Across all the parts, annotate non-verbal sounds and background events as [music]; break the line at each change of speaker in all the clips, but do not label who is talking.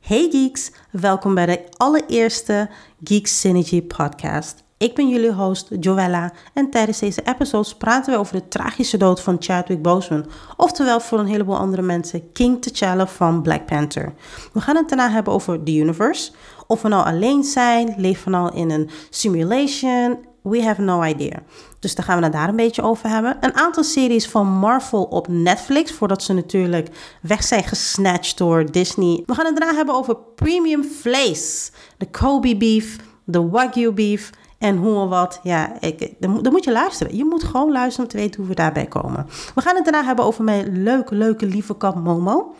Hey geeks, welkom bij de allereerste Geek Synergy podcast. Ik ben jullie host Joella en tijdens deze episodes praten we over de tragische dood van Chadwick Boseman, oftewel voor een heleboel andere mensen King T'Challa van Black Panther. We gaan het daarna hebben over the universe, of we nou alleen zijn, leven we nou in een simulation, we have no idea. Dus daar gaan we het daar een beetje over hebben. Een aantal series van Marvel op Netflix, voordat ze natuurlijk weg zijn gesnatcht door Disney. We gaan het daarna hebben over premium vlees. De Kobe beef, de Wagyu beef en hoe en wat. Ja, ik, ik- dan, moet- dan moet je luisteren. Je moet gewoon luisteren om te weten hoe we daarbij komen. We gaan het daarna hebben over mijn leuke, leuke, lieve kat Momo.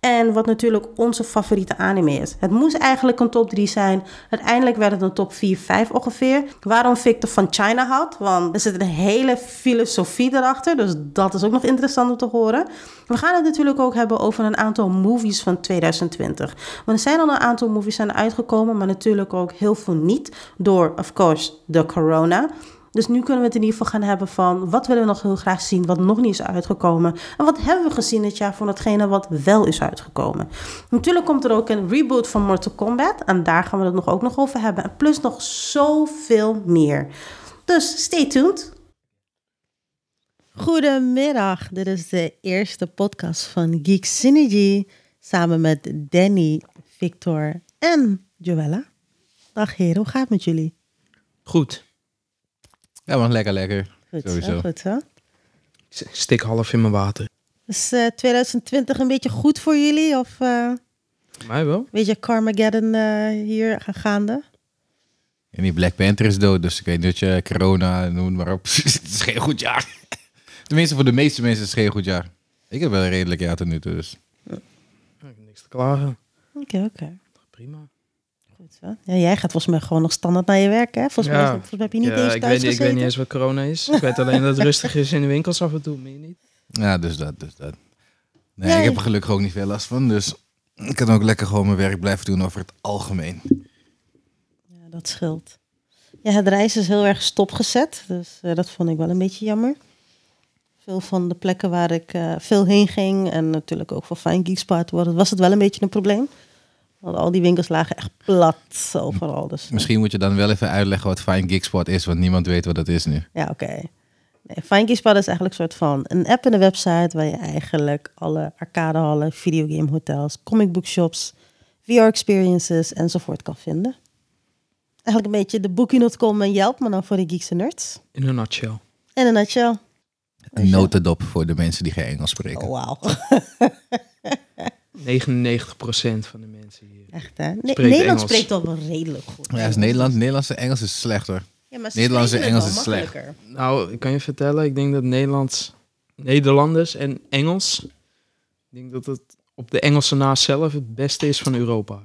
En wat natuurlijk onze favoriete anime is. Het moest eigenlijk een top 3 zijn. Uiteindelijk werd het een top 4, 5 ongeveer. Waarom Victor van China had. Want er zit een hele filosofie erachter. Dus dat is ook nog interessant om te horen. We gaan het natuurlijk ook hebben over een aantal movies van 2020. Want er zijn al een aantal movies zijn uitgekomen. Maar natuurlijk ook heel veel niet. Door, of course, de corona. Dus nu kunnen we het in ieder geval gaan hebben van wat willen we nog heel graag zien, wat nog niet is uitgekomen. En wat hebben we gezien dit jaar van hetgene wat wel is uitgekomen. Natuurlijk komt er ook een reboot van Mortal Kombat. En daar gaan we het nog ook nog over hebben. En plus nog zoveel meer. Dus stay tuned. Goedemiddag, dit is de eerste podcast van Geek Synergy. Samen met Danny, Victor en Joella. Dag heren, hoe gaat het met jullie?
Goed. Ja, want lekker, lekker.
Goed,
Sowieso.
goed zo.
Ik Stik half in mijn water.
Is eh, 2020 een beetje goed voor jullie? Of eh, een
Mij wel.
beetje Carmageddon eh, hier gaan gaande?
En die Black Panther is dood, dus ik weet dat je corona, noem maar op. [laughs] het is geen goed jaar. [laughs] Tenminste, voor de meeste mensen is het geen goed jaar. Ik heb wel een redelijk jaar tot nu toe, dus.
Ik heb niks te klagen.
Oké, oké.
Prima.
Goed zo. Ja, jij gaat volgens mij gewoon nog standaard naar je werk, hè? Volgens, mij,
Ja.
is het- volgens mij heb je niet
ja,
eens
ik,
thuis
weet, niet- ik weet
gezeten.
niet eens wat corona is. Ik weet alleen dat het rustig is in de winkels af en toe. Meer niet.
Ja, dus dat, dus dat. Nee,
Nee.
ik heb er gelukkig ook niet veel last van, dus ik kan ook lekker gewoon mijn werk blijven doen over het algemeen.
Ja, dat scheelt. Ja, het reis is heel erg stopgezet. Dus eh, dat vond ik wel een beetje jammer. Veel van de plekken waar ik eh, veel heen ging. En natuurlijk ook voor Fine Geek Spot was het- was het wel een beetje een probleem. Want al die winkels lagen echt plat overal. Dus, eh,
Misschien moet je dan wel even uitleggen wat Fine Gig Spot is, want niemand weet wat dat is nu.
Ja, oké. Nee, Fine Kiespad is eigenlijk een soort van een app en een website waar je eigenlijk alle arcadehallen, videogamehotels, comic book shops, VR experiences enzovoort kan vinden. Eigenlijk een beetje de booking.com en Yelp, maar dan voor de geeks en nerds.
In een nutshell.
En een nutshell.
Een notendop voor de mensen die geen Engels spreken.
Oh, wauw.
99% van de mensen hier.
[laughs] Echt, hè? Ne-
Spreekt
Nederland
Engels.
spreekt al wel redelijk goed.
Ja, is Nederland, Nederlandse Engels is slecht hoor.
Ja, maar ze
Nederlands en
spreken het
Engels
wel
is slecht.
makkelijker.
Nou, ik kan je vertellen, ik denk dat Nederlands, Nederlanders en Engels, ik denk dat het op de Engelse na zelf het beste is van
Oh
Europa.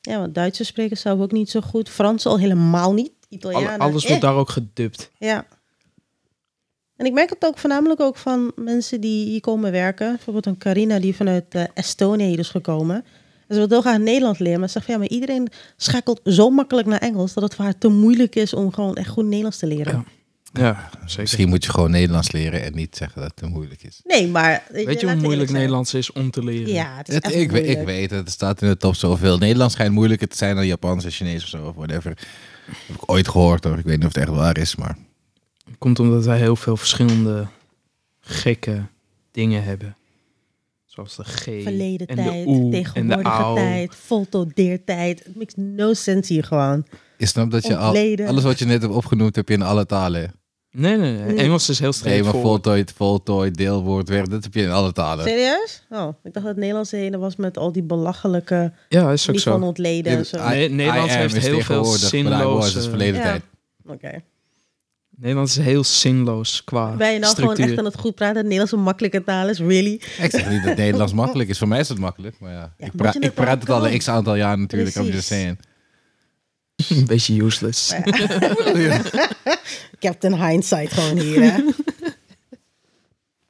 Ja, want Duitsers spreken zelf ook niet zo goed. Frans al helemaal niet.
Alle-
Italianen.
alles
eh.
wordt daar ook gedubt.
Ja. En ik merk het ook voornamelijk ook van mensen die hier komen werken. Bijvoorbeeld een Carina die vanuit eh, Estonië hier is gekomen. En ze wil heel graag Nederlands leren. Maar ze zegt van ja, maar iedereen schakelt zo makkelijk naar Engels... dat het voor haar te moeilijk is om gewoon echt goed Nederlands te leren.
Ja. Ja, zeker.
Misschien moet je gewoon Nederlands leren en niet zeggen dat het te moeilijk is.
Nee, maar...
Weet je
laten
hoe
we
moeilijk
eerlijk zijn.
Nederlands is om te leren?
Ja, het is
Het-
echt
ik, weet,
moeilijk.
ik weet het, het staat in de top zoveel. Nederlands schijnt moeilijker te zijn dan Japans en Chinees of zo, of whatever. heb ik ooit gehoord hoor, ik weet niet of het echt waar is, maar...
Komt omdat wij heel veel verschillende gekke dingen hebben. Zoals de G
Verleden
en
tijd,
de oe en de
tegenwoordige
au.
tijd, voltodeertijd. Het makes no sense hier gewoon.
Ik snap dat je al,
Ontleden.
alles wat je net hebt opgenoemd, heb je in alle talen.
Nee, nee, nee.
Nee.
Engels is heel
Nee, maar
straightforward.
voltooid, voltooid, deelwoord, werk, dat heb je in alle talen.
Serieus? Oh, ik dacht dat het Nederlands de ene was met al die belachelijke...
Ja, is ook
Niet van
zo.
ontleden
Ja,
en zo.
I-
Nee, Nederlands
I am
heeft
is
heel veel
tegenwoordig, but I was
zinloze-
is verleden
Ja.
tijd.
Oké.
Nederlands is heel zinloos qua
Ben je nou
structuur.
gewoon echt aan het goed praten? Het Nederlands een makkelijke taal is, really?
Ik zeg niet dat Nederlands makkelijk is, voor mij is het makkelijk, maar ja.
Ja,
ik,
moet
pra-
je het
ik praat het
wel
al een
kunnen?
x aantal jaar natuurlijk, I'm
Precies.
just saying. [laughs]
Een beetje useless.
Captain Hindsight gewoon hier,
[laughs]
hè?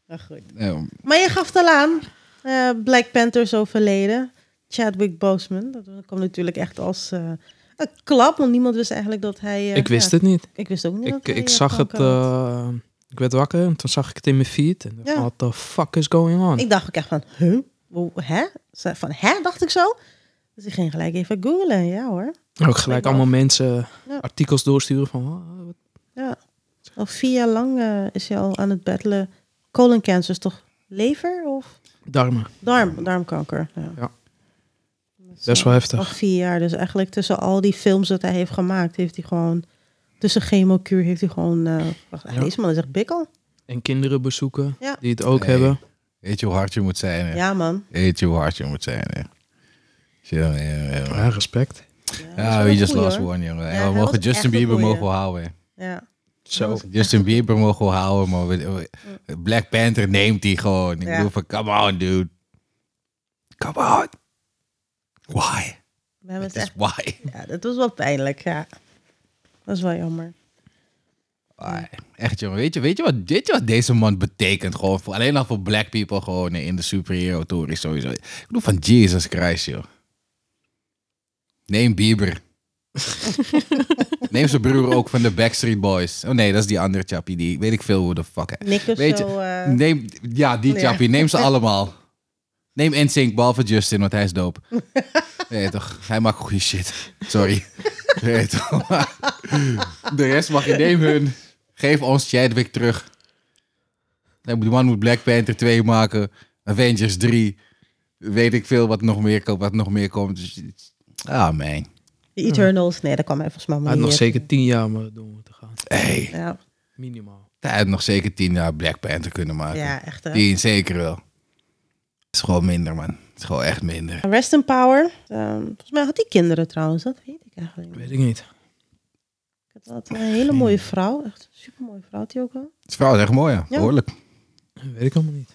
Maar goed.
Ja,
Maar je gaf het al aan. eh, Black Panther is overleden. Chadwick Boseman. Dat kwam natuurlijk echt als eh, een klap. Want niemand wist eigenlijk dat hij... eh,
Ik wist
ja,
het niet.
Ik wist ook niet dat
Ik,
hij,
ik
eh,
zag het...
kanker had.
eh, ik werd wakker en toen zag ik het in mijn feed. En dacht,
Ja.
what the fuck is going on?
Ik dacht ook echt van, huh? Hoe- Hè? Ze- Van, hè? Dacht ik zo. Dus ik ging gelijk even googlen, ja hoor.
Ook gelijk
Blijkbaar.
allemaal mensen
Ja.
artikels doorsturen van... "Ah, wat-
Al vier jaar lang eh, is hij al aan het battelen. Colon cancer is toch lever of
darmen.
darm, darmkanker? Ja.
Ja.
Dat is
Best wel heftig.
Al vier jaar, dus eigenlijk tussen al die films dat hij heeft gemaakt, heeft hij gewoon... Tussen chemokuur heeft hij gewoon... eh, wacht,
Ja.
Deze man is echt bikkel.
En kinderen bezoeken
Ja.
die het ook
Nee.
hebben.
Weet je hoe hard je moet zijn, hè?
Ja, man.
Weet je hoe hard je moet zijn, hè? Shit, man, ja, ja, man.
respect.
Ja, dat is
Ja,
wel
we
een
just
goeie,
lost
hoor.
one, jongen.
Ja,
Ja,
hij
we
was
mogen
echt
Justin
een
Bieber
goeie.
mogen we houden.
Ja.
Zo.
Justin Bieber mogen we houden, maar we- we- Black Panther neemt die gewoon. Ik
Ja.
bedoel van, come on, dude. Come on. Why?
We hebben het
Het is
echt...
why.
Ja, dat was wel pijnlijk, ja. Dat is wel jammer.
Why? Ah, Echt, jongen. Weet je, weet, je wat, weet je wat deze man betekent? Gewoon voor, alleen al voor black people gewoon in de superhero tour is sowieso. Ik bedoel van Jesus Christ, joh.
[laughs]
Neem Bieber. Neem zijn broer ook van de Backstreet Boys. Oh nee, dat is die andere chappie. Die weet ik veel hoe de fuck. hij-
Nick of
Weet je,
zo... eh,
Neem, ja, die
Oh, Ja.
chappie. Neem ze allemaal. Neem NSYNC, behalve Justin, want hij is
[laughs]
dope. Nee, toch? Hij maakt goede shit. Sorry. Nee, toch? [laughs] De rest mag je nemen hun. Geef ons Chadwick terug. Nee, Die man moet Black Panther 2 maken. Avengers 3. Weet ik veel wat nog meer komt. Wat nog meer komt. Dus- Ah, man.
De Eternals, nee, dat kwam even volgens mij
Hij had
niet
Ah, nog
in.
zeker tien jaar maar door moeten gaan.
Hey.
Ja,
Minimaal.
Hij had nog zeker 10 jaar Black Panther kunnen maken.
ja echt. hè.
Die zeker wel. Het is gewoon minder, man. Het is gewoon echt minder.
Rest in Power. Ehm, volgens mij had hij kinderen trouwens, dat weet ik eigenlijk niet.
Weet ik niet.
Ik had een hele mooie vrouw, echt een supermooie vrouw had hij ook wel.
Zijn vrouw is echt mooi, ja.
Ja.
Behoorlijk.
Weet ik allemaal niet.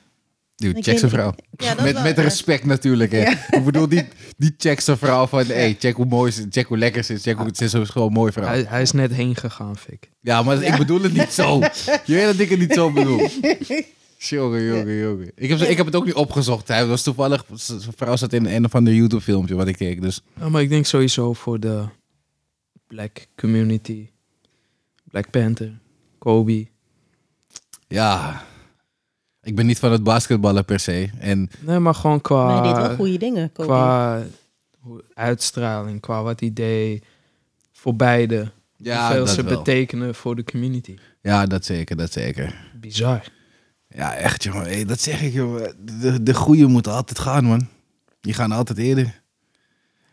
Dude,
Ik
check zijn
weet-
vrouw.
Ja, dat
met,
wel,
met
ja.
respect natuurlijk, hè. Ik bedoel, die, die checkt zijn vrouw van... hey, check hoe mooi ze Check hoe lekker ze is. Check hoe, ze is gewoon een mooie vrouw.
Hij, hij is net heen gegaan, Fik.
Ja, maar ik bedoel het niet zo. Je weet dat ik het niet
[laughs]
zo bedoel. Jongen, jongen, jongen. Ik heb, ze- ik heb het ook niet opgezocht. Hij was toevallig... z- Zijn vrouw zat in een of ander YouTube-filmpje wat ik keek. Dus
Ja, maar ik denk sowieso voor de black community. Black Panther, Kobe.
ja... Ik ben niet van het basketballen per se. En
Nee, maar gewoon
Maar hij deed
qua,
eh,
wel goede dingen, Kobe.
qua hoe- uitstraling, qua wat hij deed. Voor beide.
ja,
hoeveel
dat
ze
wel.
betekenen voor de community.
Ja, dat zeker, dat zeker.
Bizar.
Ja, echt, jongen. Hey, dat zeg ik, jongen. De, de goede moeten altijd gaan, man. Die gaan altijd eerder.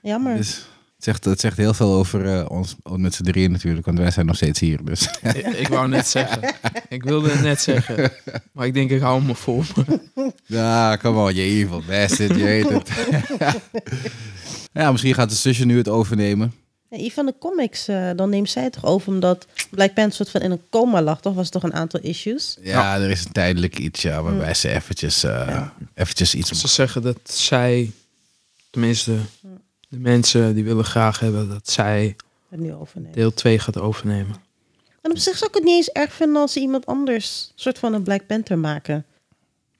Jammer.
Dus het zegt, het zegt heel veel over eh, ons met z'n drieën natuurlijk, want wij zijn nog steeds hier. Dus.
ik, ik wou net zeggen. Ik wilde het net zeggen. Maar ik denk, ik hou me voor me.
[laughs] ja, come on, je evil bastard, je weet het. [laughs] ja, misschien gaat de zusje nu het overnemen.
Nee, Ivan de Comics, eh, dan neemt zij het toch over omdat Black Panther soort van in een coma lag, toch? Was er toch een aantal issues?
Ja, er is een tijdelijk iets, ja, waarbij ze eventjes, eh, eventjes iets...
Ze zeggen dat zij, tenminste de mensen die willen graag hebben, dat zij
Het nu overneemt.
deel 2 gaat overnemen.
En op zich zou ik het niet eens erg vinden als ze iemand anders soort van een Black Panther maken.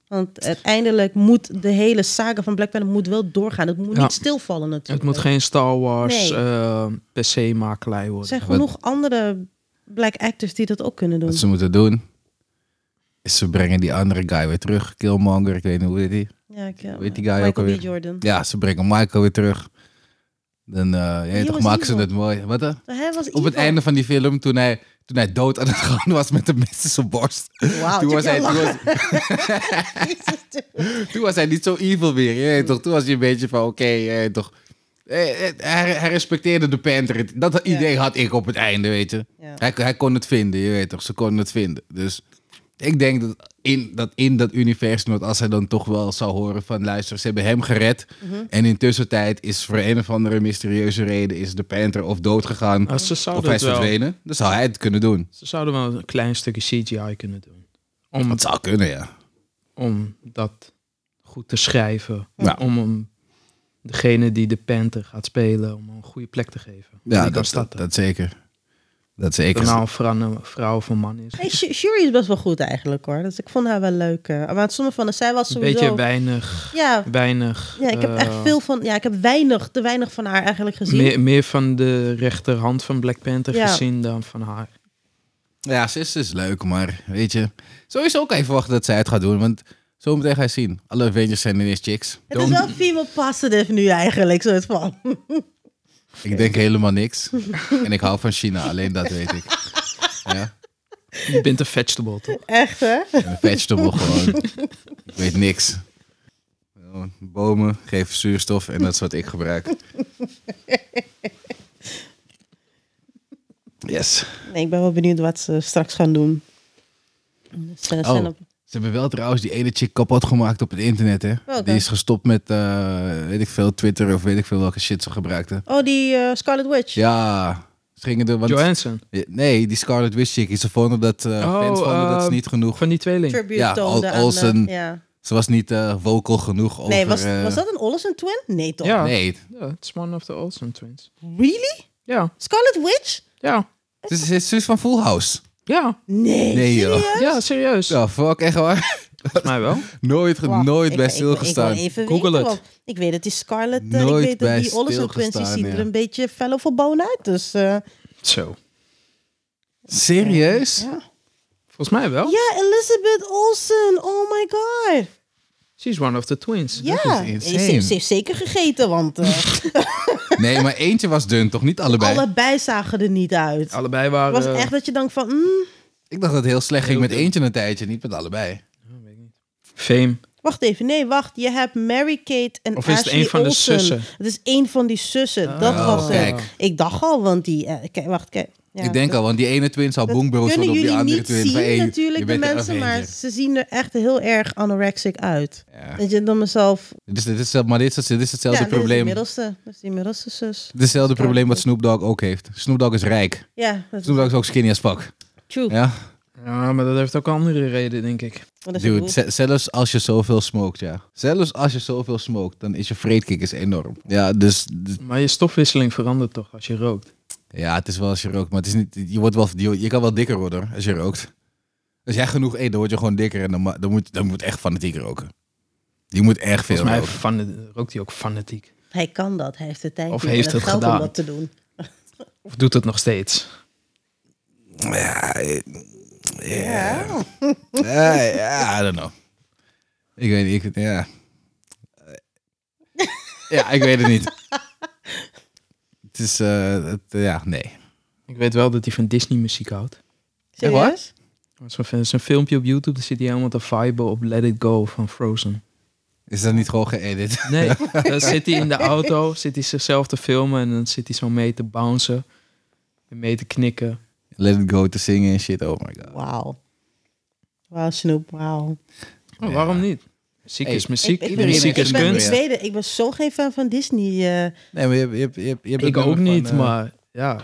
Want uiteindelijk moet de hele saga van Black Panther moet wel doorgaan. Het moet
Ja.
niet stilvallen natuurlijk.
Het moet geen Star Wars
Nee.
eh, per se makelij
Er
worden.
zijn genoeg andere black actors die dat ook kunnen doen.
Wat ze moeten doen, is ze brengen die andere guy weer terug. Killmonger, ik weet niet hoe heet die.
Ja, ik, eh,
Weet die guy ook
Michael B.
alweer?
Jordan.
Ja, ze brengen Michael weer terug. Dan eh, je weet
Die
toch,
was
maken ze
evil.
het mooi. Wat dan?
Hij was
Op het
evil.
einde van die film, toen hij, toen hij dood aan het gaan was met de mes in zijn borst. [laughs]
Wauw,
toen, was hij,
check
toen,
jou
was,
lachen. [laughs] Jezus, dude.
toen was hij niet zo evil meer. Je weet toch? Toen was hij een beetje van, oké, je weet toch. Eh, eh, Hij, hij respecteerde de Panther. Dat
Ja.
idee had ik op het einde, weet je.
Ja.
Hij, hij kon het vinden, je weet toch. Ze konden het vinden. Dus ik denk dat in dat, in dat universum, dat als hij dan toch wel zou horen van... luister, ze hebben hem gered.
Mhm.
En intussen tijd is voor een of andere mysterieuze reden... is de Panther of dood gegaan
Nou, ze,
of
zouden
hij
het
is
wel,
verdwenen. Dan zou hij het kunnen doen.
ze zouden wel een klein stukje CGI kunnen doen. Om,
Dat zou kunnen, ja.
om dat goed te schrijven.
Ja.
Om hem, degene die de Panther gaat spelen, om hem een goede plek te geven. Die
Ja,
kan
dat, dat,
starten.
dat zeker. Dat
Of
zeker.
het nou een vrouw, een vrouw of een man is.
Hey, Shu- Shuri is best wel goed eigenlijk hoor. Dus ik vond haar wel leuk. eh. maar sommige van de zij was
Een
sowieso...
beetje weinig.
ja,
weinig
ja, ik heb echt
eh,
veel van... Ja, ik heb weinig, te weinig van haar eigenlijk gezien.
Meer, meer van de rechterhand van Black Panther
Ja.
gezien dan van haar.
Ja, ze is, ze is leuk, maar weet je. Sowieso kan je verwachten dat zij het gaat doen. Want Zometeen ga je zien. Alle Avengers zijn ineens chicks.
Het is wel female positive nu eigenlijk, soort van. [laughs]
Ik denk helemaal niks. en ik hou van China, alleen dat weet ik. Ja?
Je bent een vegetable, toch?
Echt, hè?
En een vegetable gewoon. ik weet niks. Bomen geven zuurstof en dat is wat ik gebruik. Yes.
Nee, ik ben wel benieuwd wat ze straks gaan doen. Dus, eh,
Oh,
zijn op-
ze hebben wel trouwens die ene chick kapot gemaakt op het internet, hè?
Welke?
Die is gestopt met, eh, weet ik veel, Twitter of weet ik veel welke shit ze gebruikte.
oh die eh, Scarlet Witch.
Ja, ze gingen er... Want,
Johansson.
nee, die Scarlet Witch chick, ze vonden dat, eh,
Oh,
fans vonden dat ze
eh,
niet genoeg...
Van die tweeling.
Tribute
Ja,
toonde
Al-
aan, eh,
Olsen.
ja.
Ze was niet eh vocal genoeg over...
Nee, was,
eh,
was dat een Olsen twin? Nee, toch?
Ja.
Nee,
Ja, het is one of the Olsen twins.
Really?
Ja,
Scarlet Witch?
ja,
ze is- ze is zus van Full House.
ja.
Nee,
Nee, joh.
serieus?
Ja, serieus.
Ja, fuck, echt waar. [laughs]
Volgens mij wel.
Nooit,
Wacht,
nooit
ik-
bij
ik- ik wil
stilgestaan.
even
Google
weten,
het.
want Ik weet dat die Scarlet, eh,
Nooit
ik weet dat
bij
die Olsen twins, die
stilgestaan,
ziet er
ja.
een beetje fel of verboon uit. Dus eh,
Zo.
Serieus?
ja.
Volgens mij wel.
Ja, Elizabeth Olsen. Oh my god.
She's one of the twins.
Ja,
is
ze,
insane.
heeft- ze heeft zeker gegeten, want
[laughs]
eh,
Nee, maar eentje was dun, toch niet allebei?
allebei zagen er niet uit.
Allebei waren...
Het was echt dat je denkt van, mm,
Ik dacht dat het heel slecht ging
Heel
met
dun.
eentje een tijdje, niet met allebei.
Ja, weet ik niet. Fame.
wacht even, nee, wacht. Je hebt Mary-Kate en
Of is
Ashley
het een van de
Olsen.
zussen?
Het is een van die zussen, dat
Oh,
was het.
kijk.
Ik dacht al, want die... eh, kijk, wacht, kijk. Ja,
ik denk
dat-
al, want die ene twin zou
dat
bonkbroos worden
kunnen
op die
jullie
andere
niet
twin.
zien
van, hey, je
natuurlijk, de
bent een
mensen, maar
Avenger.
ze zien er echt heel erg anorexic uit.
Ja.
Dat je dan mezelf...
Dus dit is, maar dit is, dit is hetzelfde
ja, dit is
probleem.
de middelste, dat is die middelste zus.
Hetzelfde
Ja.
probleem wat Snoop Dogg ook heeft. Snoop Dogg is rijk.
Ja, dat is
Snoop Dogg is ook skinny as fuck.
true.
Ja?
Ja, maar dat heeft ook andere reden, denk ik.
Dat is
Dude,
goed.
ze- zelfs als je zoveel smokt, ja. Zelfs als je zoveel smokt, dan is je vreedkikkers enorm. Ja, dus d-
Maar je stofwisseling verandert toch als je rookt?
ja, het is wel als je rookt, maar het is niet, je, wordt wel, je, je kan wel dikker worden hoor, als je rookt. Als jij genoeg eet, dan word je gewoon dikker en dan, ma- dan, moet, dan moet echt fanatiek roken. Die moet echt veel
Volgens mij
roken.
fana- rookt hij ook fanatiek.
Hij kan dat, hij heeft de tijd
Of
niet en
heeft het
geld om
gedaan.
dat te doen.
Of doet het nog steeds?
Ja.
Ja, ja, I don't know. Ik weet niet, ik, ja. Ja, ik weet het niet. Het is, eh, het, ja, nee.
Ik weet wel dat hij van Disney muziek houdt.
Serieus?
Er is een- er is een filmpje op YouTube, daar zit hij helemaal te viben op Let It Go van Frozen.
Is dat niet gewoon
[laughs]
geëdit?
Nee, dan zit hij in de auto, zit hij zichzelf te filmen en dan zit hij zo mee te bouncen. En mee te knikken.
Let it go te zingen en shit, oh my god.
Wauw. Wauw, Snoep, wauw.
Maar Oh, Waarom niet? Muziek
Hey,
is muziek,
ik ben-
muziek
ik
is
ben-
kunst.
Ik weet het, ik ben zo geen fan van Disney. eh.
Nee, maar je hebt, je hebt, je hebt, je hebt
Ik
het
ook
nummer
niet,
van, eh,
maar ja,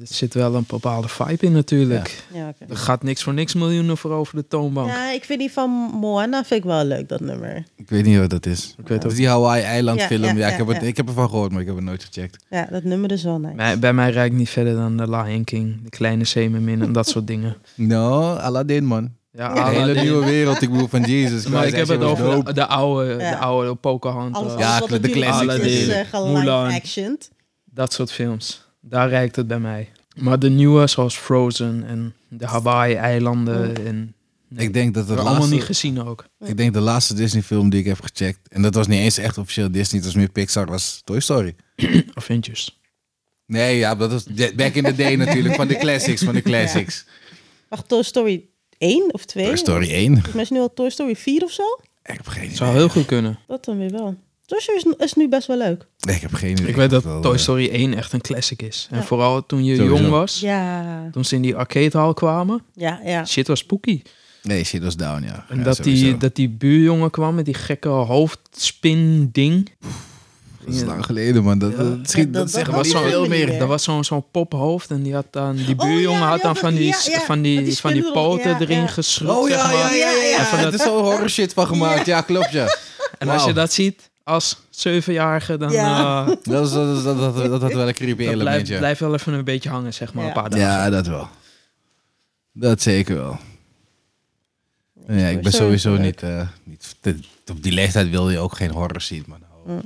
er zit wel een bepaalde vibe in natuurlijk.
ja, oké.
Er gaat niks voor niks miljoenen voor over de toonbank.
ja, ik vind die van Moana vind ik wel leuk, dat nummer.
Ik weet niet wat dat is.
Ik weet
Dat
ook,
is die Hawaii-eiland film.
Ja,
Ja,
ja, ja,
ik, heb het,
ja.
ik heb ervan gehoord, maar ik heb het nooit gecheckt.
Ja, dat nummer is wel nice.
bij, bij mij reikt niet verder dan de Lion King, de kleine zeemermin en dat soort dingen.
No, Aladdin, man.
Ja,
Een
Aladdin.
hele nieuwe wereld. Ik bedoel, van Jesus.
Maar
Christ,
ik heb
hij
het
is heel
over
dope.
de, de oude,
Ja.
de oude Pocahontas,
Alles,
dus, Ja,
alles wat
de
op de classics
classics.
is
Aladdin,
eh gelive
Mulan.
actioned.
dat soort films. Daar reikt het bij mij. Maar de nieuwe, zoals Frozen en de Hawaii-eilanden en...
Ik denk dat
dat
het
allemaal
laatste,
niet gezien ook.
ik denk de laatste Disney-film die ik heb gecheckt. En dat was niet eens echt officieel Disney. Het was meer Pixar. was Toy Story.
Avengers.
Nee, ja, dat was de- back in the
[laughs]
day natuurlijk. Van de classics. Van de classics.
Wacht, Toy Story 1 of 2?
Toy Story 1.
Volgens mij is nu al Toy Story 4 of zo.
Ik heb geen idee.
Zou heel goed kunnen.
Dat dan weer wel. Toy Story is, is nu best wel leuk.
Ik heb geen idee.
Ik weet dat
Wel,
Toy
eh,
Story 1 echt een classic is. En
Ja.
vooral toen je
Sowieso.
jong was,
Ja,
toen ze in die arcadehal kwamen,
ja, ja.
shit was spooky.
eh, Nee, shit was down, ja.
En
Ja,
dat, die,
sowieso.
dat die buurjongen kwam met die gekke hoofdspin ding.
Dat is lang geleden, man. Dat,
Ja.
dat, schiet,
Dat-
dat,
dat-
zeggen we
dat
niet
was wel-
veel meer.
Ja.
Er was zo'n zo'n pophoofd en die had dan die
Oh,
buurjongen
ja,
had dan
ja,
van die,
ja,
s-
ja.
van
Met
die,
die
van die
spindel,
poten
ja,
erin
ja.
geschroefd.
Oh ja,
zeg maar.
ja, ja, ja.
Ja,
ja.
ja.
Er is zo'n horror shit van gemaakt. Ja, klopt ja.
En als je
Wauw.
dat ziet als zevenjarige, dan
Ja.
eh, dat
Dat, is, dat, is- dat, dat, dat had wel een creepy
blijft,
element, ja.
blijft wel even een beetje hangen, zeg maar,
Ja.
een paar dagen.
Ja, dat wel. Dat zeker wel.
Nee,
Ja, ik ben
Toy Story is
sowieso
wel
niet... eh, niet te- op die leeftijd wilde je ook geen horror zien, man. Oh.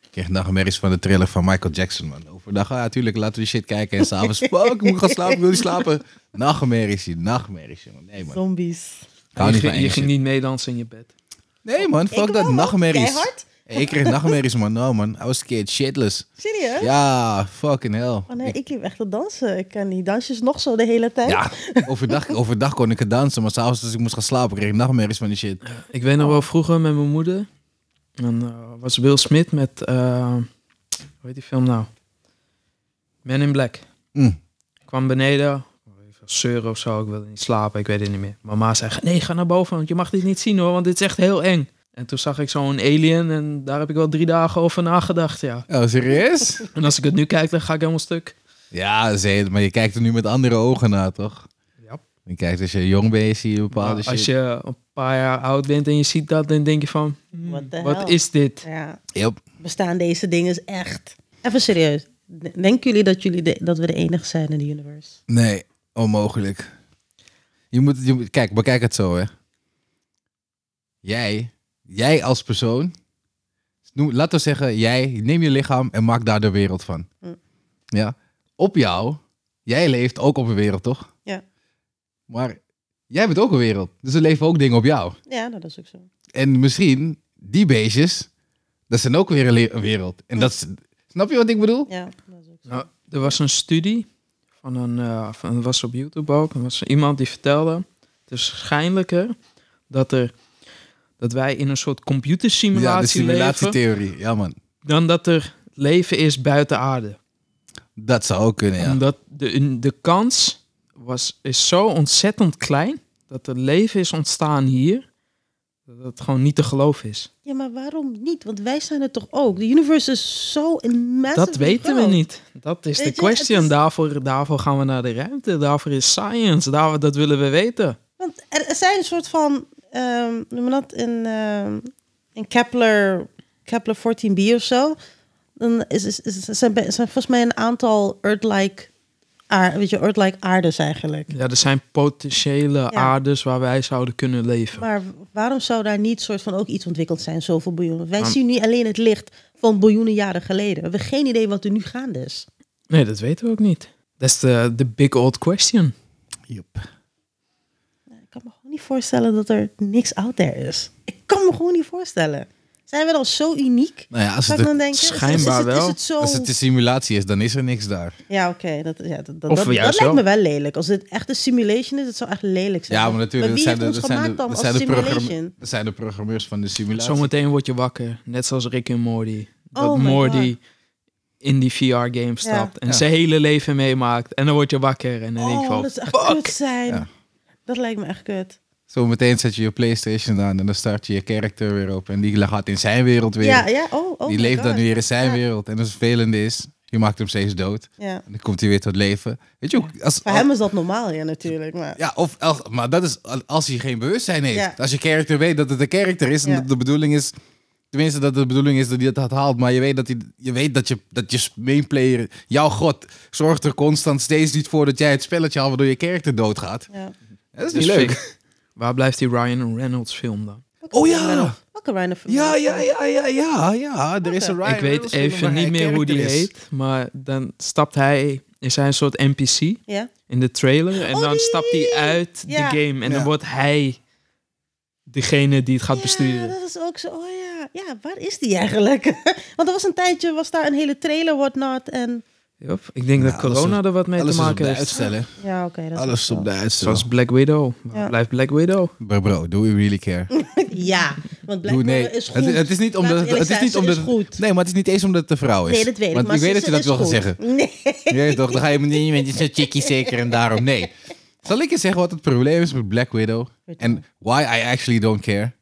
Ik kreeg nachtmerries van de trailer van Michael Jackson, man. Overdag, ah, tuurlijk, laten we die shit kijken. En [laughs] s'avonds, fuck, ik moet gaan slapen, ik wil niet slapen. Nachtmerries, hier, nachtmerries, jongen. Nee, man.
Zombies.
Ik hou
je
niet van
ging, je ging
enge shit.
niet meedansen in je bed.
Nee, man. Fuck
Ik
dat.
wel, man.
Nachtmerries.
Keihard?
Ik kreeg nachtmerries, man. Nou, man. I was a kid. Shitless.
Serieus?
Ja, fucking hell.
Oh, nee,
Ik-
ik liep echt te dansen. Ik kan niet. Dansjes nog zo de hele tijd.
ja, overdag, overdag kon ik het dansen, maar s'avonds als ik moest gaan slapen kreeg ik nachtmerries van die shit.
Ik weet
Oh.
nog wel vroeger met mijn moeder. Dan eh, was Will Smith met. eh, hoe heet die film nou? Men in Black.
Mm.
kwam beneden. Even zeuren of zo. Ik wilde niet slapen. Ik weet het niet meer. Mama zei: Nee, ga naar boven. Want je mag dit niet zien hoor. Want dit is echt heel eng. En toen zag ik zo'n alien. En daar heb ik wel drie dagen over nagedacht. Ja.
Oh,
[laughs]
serieus?
En als ik het nu kijk, dan ga ik helemaal stuk.
Ja, zee, maar je kijkt er nu met andere ogen naar, toch?
Ja.
Je kijkt als je jong bent, zie je bepaalde
Maar als
shit.
je een paar jaar oud bent en je ziet dat, dan denk je van: hmm,
What the
Wat
hell?
is dit?
Ja.
Yep.
Bestaan deze dingen echt?
Even serieus. Denken jullie dat, jullie de- dat we de enige zijn in de universe?
Nee, onmogelijk. Je moet, je moet, kijk, bekijk het zo, hè. Jij, jij als persoon, noem, laten we zeggen, jij neem je lichaam en maak daar de wereld van.
Hm.
Ja, op jou, jij leeft ook op een wereld, toch?
Ja.
Maar jij bent ook een wereld, dus er leven ook dingen op jou.
Ja, nou, dat is ook zo.
En misschien die beestjes, dat zijn ook weer een, le- een wereld. En dat is, snap je wat ik bedoel?
Ja, dat is ook zo.
Nou, er was een studie van een, eh van, dat was op YouTube ook, er was iemand die vertelde, het is waarschijnlijker dat, er, dat wij in een soort computersimulatie
ja, de
leven,
simulatietheorie. Ja, man.
dan dat er leven is buiten aarde.
Dat zou ook kunnen, ja.
Omdat de, de kans was, is zo ontzettend klein dat er leven is ontstaan hier, dat het gewoon niet te geloven is.
Ja, maar waarom niet? Want wij zijn het toch ook? De universe is zo een
Dat weten we niet. Dat is
Weet
de
je, het
question.
is-
Daarvoor, daarvoor gaan we naar de ruimte. Daarvoor is science. Daarvoor, dat willen we weten.
Want er, er zijn een soort van, ehm noem je dat, in, ehm, in Kepler, Kepler 14b of zo. Dan is, is, is, zijn, be- zijn volgens mij een aantal Earth-like aar- weet je, Earth-like aardes eigenlijk.
Ja, er zijn potentiële aardes waar wij zouden kunnen leven.
Maar waarom zou daar niet soort van ook iets ontwikkeld zijn, zoveel biljoenen? Wij zien nu alleen het licht van biljoenen jaren geleden. We hebben geen idee wat er nu gaande is.
Nee, dat weten we ook niet. Dat is de, de big old question.
Joep.
Ik kan me gewoon niet voorstellen dat er niks out there is. Ik kan me gewoon niet voorstellen. Zijn we dan zo uniek?
Nou ja, als
Zou
het,
ik
een-
dan denken, is- is- is
schijnbaar
het- Is
wel.
het zo...
als het een simulatie is, dan is er niks daar.
Ja, oké. Dat, ja, dat, dat,
Of
dat, dat
juist
lijkt
wel.
me wel lelijk. Als het echt een simulation is, het zou echt lelijk zijn.
Ja, maar natuurlijk,
wie
dat zijn
heeft
de,
ons
dat
gemaakt
zijn de,
dan
dat
als
zijn de, programme-
simulation?
dat zijn de programmeurs van de simulatie.
Zometeen word je wakker, net zoals Rick en Morty. Dat
Oh my
Morty in die VR-game stapt en
Ja.
zijn hele leven meemaakt. En dan word je wakker en dan denk je
Oh,
van...
dat is echt
fuck.
kut zijn.
Ja.
Dat lijkt me echt kut.
Zometeen zet je je Playstation aan en dan start je je character weer op. En die gaat in zijn wereld weer.
Ja, ja. Oh, oh
die
my
leeft
God.
dan weer in zijn
Ja.
wereld. En als het vervelende is, je maakt hem steeds dood.
Ja.
En dan komt hij weer tot leven. Weet je ook, als,
Voor hem is dat normaal, ja, natuurlijk. Maar...
Ja, of als, maar dat is als hij geen bewustzijn heeft.
Ja.
Als je character weet dat het een character is en
Ja.
dat de bedoeling is, tenminste dat de bedoeling is dat hij dat haalt, maar je weet dat, hij, je, weet dat, je, dat je mainplayer, jouw god, zorgt er constant steeds niet voor dat jij het spelletje haalt waardoor je character doodgaat.
Ja.
Dat is
Dus
niet leuk.
vind- Waar blijft die Ryan Reynolds film dan?
Oh ja,
Welke Ryan Reynolds?
ja, ja, ja, ja, ja, ja. Er is een Ryan
Ik weet
Reynolds film
even
waar hij
niet meer hoe die
character is.
heet, maar dan stapt hij... Is hij een soort NPC
Ja?
in de trailer en
Oh,
dan
die-
stapt hij uit
Ja.
de game en
Ja.
dan wordt hij degene die het gaat
Ja,
besturen.
dat is ook zo. Oh ja. Ja, waar is die eigenlijk? [laughs] Want er was een tijdje, was daar een hele trailer, whatnot. En...
Yep, ik denk
Ja,
dat
alles
corona
is-
er wat mee
Alles
te
is op
maken
de
heeft.
uitstellen.
Ja, oké. dat is
Alles
ook
op
zo.
de uitstellen.
Zoals Black Widow.
Ja.
Blijft Black Widow.
Bro, bro, do we really care?
Ja, want Black
Doe, nee.
Mirror is goed.
Het, het is
Laten
niet
we
omdat het,
eerlijk
het is
zijn,
niet
ze
omdat
is goed.
Nee, maar het is niet eens omdat het een vrouw is.
Nee, dat weet ik.
Want
maar
ik weet dat je dat wil
wil
gaan
[laughs]
zeggen. [laughs]
Nee.
Nee, toch? Dan ga je me niet met je zo'n chickie zeker en daarom. Nee. Zal ik je zeggen wat het probleem is met Black Widow? En why I actually don't care?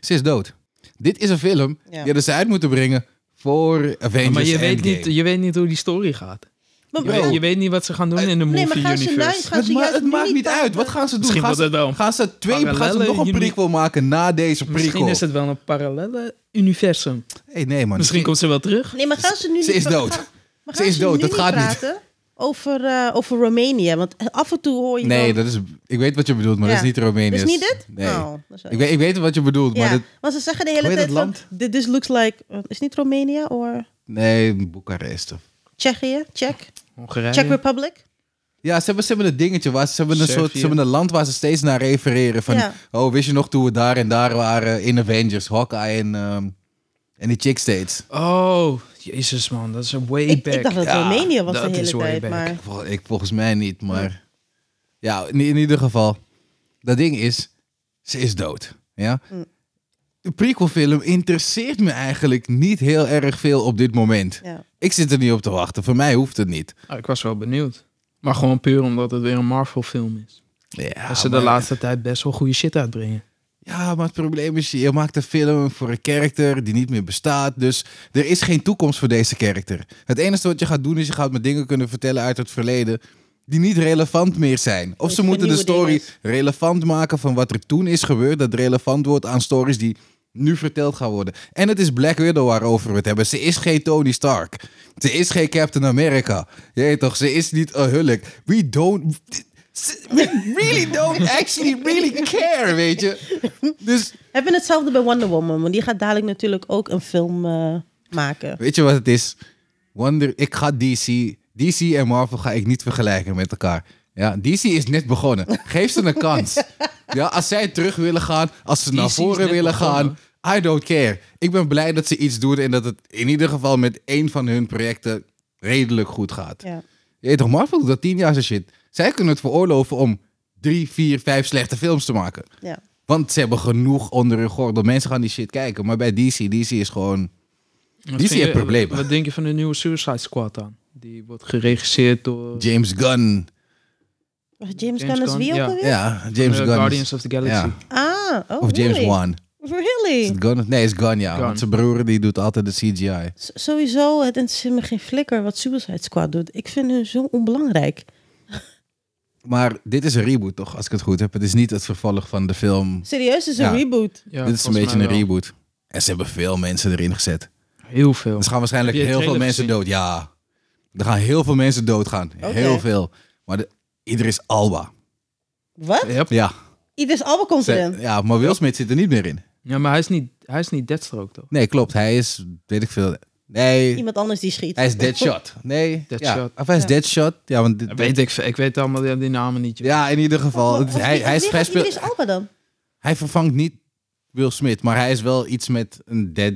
Ze is dood. Dit is een film
Ja.
die hadden ze uit moeten brengen voor Avengers
maar je weet,
Endgame. Oh.
niet, je weet niet hoe die story gaat.
Maar
Je, weet,
bro,
je weet niet wat ze gaan doen
Eh,
in de
nee,
movie
maar gaan ze
universe.
nou- gaan
het
ze
ma-
juist
het
nu
maakt niet uit. Wat gaan ze doen?
Misschien
gaan,
wordt
ze,
het wel een
gaan ze twee, gaan ze
parallelle
nog een
uni-
prequel maken na deze
Misschien
prequel?
is het wel een parallele universum.
hey, nee, man.
Misschien komt ze wel terug.
nee, maar gaan ze nu
Ze
niet
is
pra- [laughs]
dood.
gaan- maar
Ze
gaan
is dood,
nu
dat gaat niet.
praten Over, eh, over Roemenië, want af en toe hoor je
Nee,
wel-
dat is, ik weet wat je bedoelt, maar
Ja.
dat is niet Roemenië.
is niet dit?
Nee.
Oh, dat is wel-
ik, weet, ik weet wat je bedoelt,
ja,
maar dat,
want ze zeggen de
Hoe
hele
heet
tijd
dat
van, "Th- this looks like, eh, is niet Roemenië of
nee, Boekarest.
Tsjechië, Czech,
Hongarije.
Czech Republic?
Ja, ze hebben, ze hebben een dingetje. Waar, ze, hebben een soort, ze
Servië.
hebben een land waar ze steeds naar refereren. Van,
Ja.
oh, wist je nog toen we daar en daar waren in Avengers, Hawkeye en, ehm, en die chick steeds.
Oh, jezus man, dat is een way
Ik,
back.
ik dacht dat Roemenië was
dat
de
is
hele
way
tijd,
back.
maar...
Vol- Ik volgens mij niet, maar... Ja, in, in ieder geval. Dat ding is, ze is dood. Ja?
Mm.
De prequelfilm interesseert me eigenlijk niet heel erg veel op dit moment.
Ja.
Ik zit er niet op te wachten. Voor mij hoeft het niet.
Ah, ik was wel benieuwd. Maar gewoon puur omdat het weer een Marvel film is.
Ja,
dat ze de
maar-
laatste tijd best wel goede shit uitbrengen.
Ja, maar het probleem is, je maakt een film voor een karakter die niet meer bestaat. Dus er is geen toekomst voor deze karakter. Het enige wat je gaat doen is, je gaat me dingen kunnen vertellen uit het verleden die niet relevant meer zijn. Of
Dus
ze moeten de
nieuwe
story
dingen.
relevant maken van wat er toen is gebeurd, dat relevant wordt aan stories die nu verteld gaan worden. En het is Black Widow waarover we het hebben. Ze is geen Tony Stark. Ze is geen Captain America. Je weet toch, ze is niet een Hulk. We don't... We really don't actually really care, weet je. Dus
Hebben hetzelfde bij Wonder Woman, want die gaat dadelijk natuurlijk ook een film eh, maken.
Weet je wat het is? Wonder, ik ga DC. DC en Marvel ga ik niet vergelijken met elkaar. Ja, DC is net begonnen. Geef ze een
[laughs]
kans. Ja, als zij terug willen gaan, als ze naar
DC is
voren
net
willen
begonnen.
gaan, I don't care. Ik ben blij dat ze iets doen en dat het in ieder geval met één van hun projecten redelijk goed gaat.
Ja.
Je weet toch, Marvel doet dat tien jaar zijn shit. Zij kunnen het veroorloven om drie, vier, vijf slechte films te maken.
Ja.
Want ze hebben genoeg onder hun gordel. Mensen gaan die shit kijken. Maar bij DC, DC is gewoon...
Wat vind
Die zie je problemen.
Wat denk je van de nieuwe Suicide Squad dan? Die wordt geregisseerd door
James Gunn.
Wacht, James,
James
Gunn is
Gunn,
wie ook
ja.
alweer?
Ja,
de
James Gunn.
eh, Guardians of the Galaxy.
Ja.
Ah, oh,
Of James
really?
Wan. Is
Really?
het Gunn? Nee, is Gunn, ja.
Gunn.
Want zijn broer die doet altijd de CGI.
S- sowieso, het interesseert me geen flikker wat Suicide Squad doet. Ik vind hun zo onbelangrijk.
Maar dit is een reboot, toch? Als ik het goed heb. Het is niet het vervolg van de film.
Serieus, het is een
Ja.
reboot.
Ja,
dit is een
volgens
beetje
mij
een
wel.
reboot. En ze hebben veel mensen erin gezet.
Heel veel.
Er gaan waarschijnlijk
Heb je de
heel veel
trailer
mensen
gezien?
dood. Ja. Er gaan heel veel mensen doodgaan.
Oké.
Heel veel. Maar de, Idris Alba.
Wat?
Yep.
Ja.
Idris Alba komt
Eh, Ze- eh,
erin.
ja, maar Will Smith zit er niet meer in.
Ja, maar hij is niet, hij is niet Deathstroke toch?
Nee, klopt. Hij is, weet ik veel. Nee,
Iemand anders die schiet.
hij is Deadshot. Nee,
Deadshot.
Ja. Of hij is
Ja.
Deadshot. Ja, want dit-
Weet ik, veel. ik weet allemaal die, die namen niet. joh.
Ja, in ieder geval.
Of-
Het-
of
hij,
wie-
hij,
wie
is, hij,
gaat Idris
speelt,
Alba dan?
hij vervangt niet Will Smith, maar hij is wel iets met een dead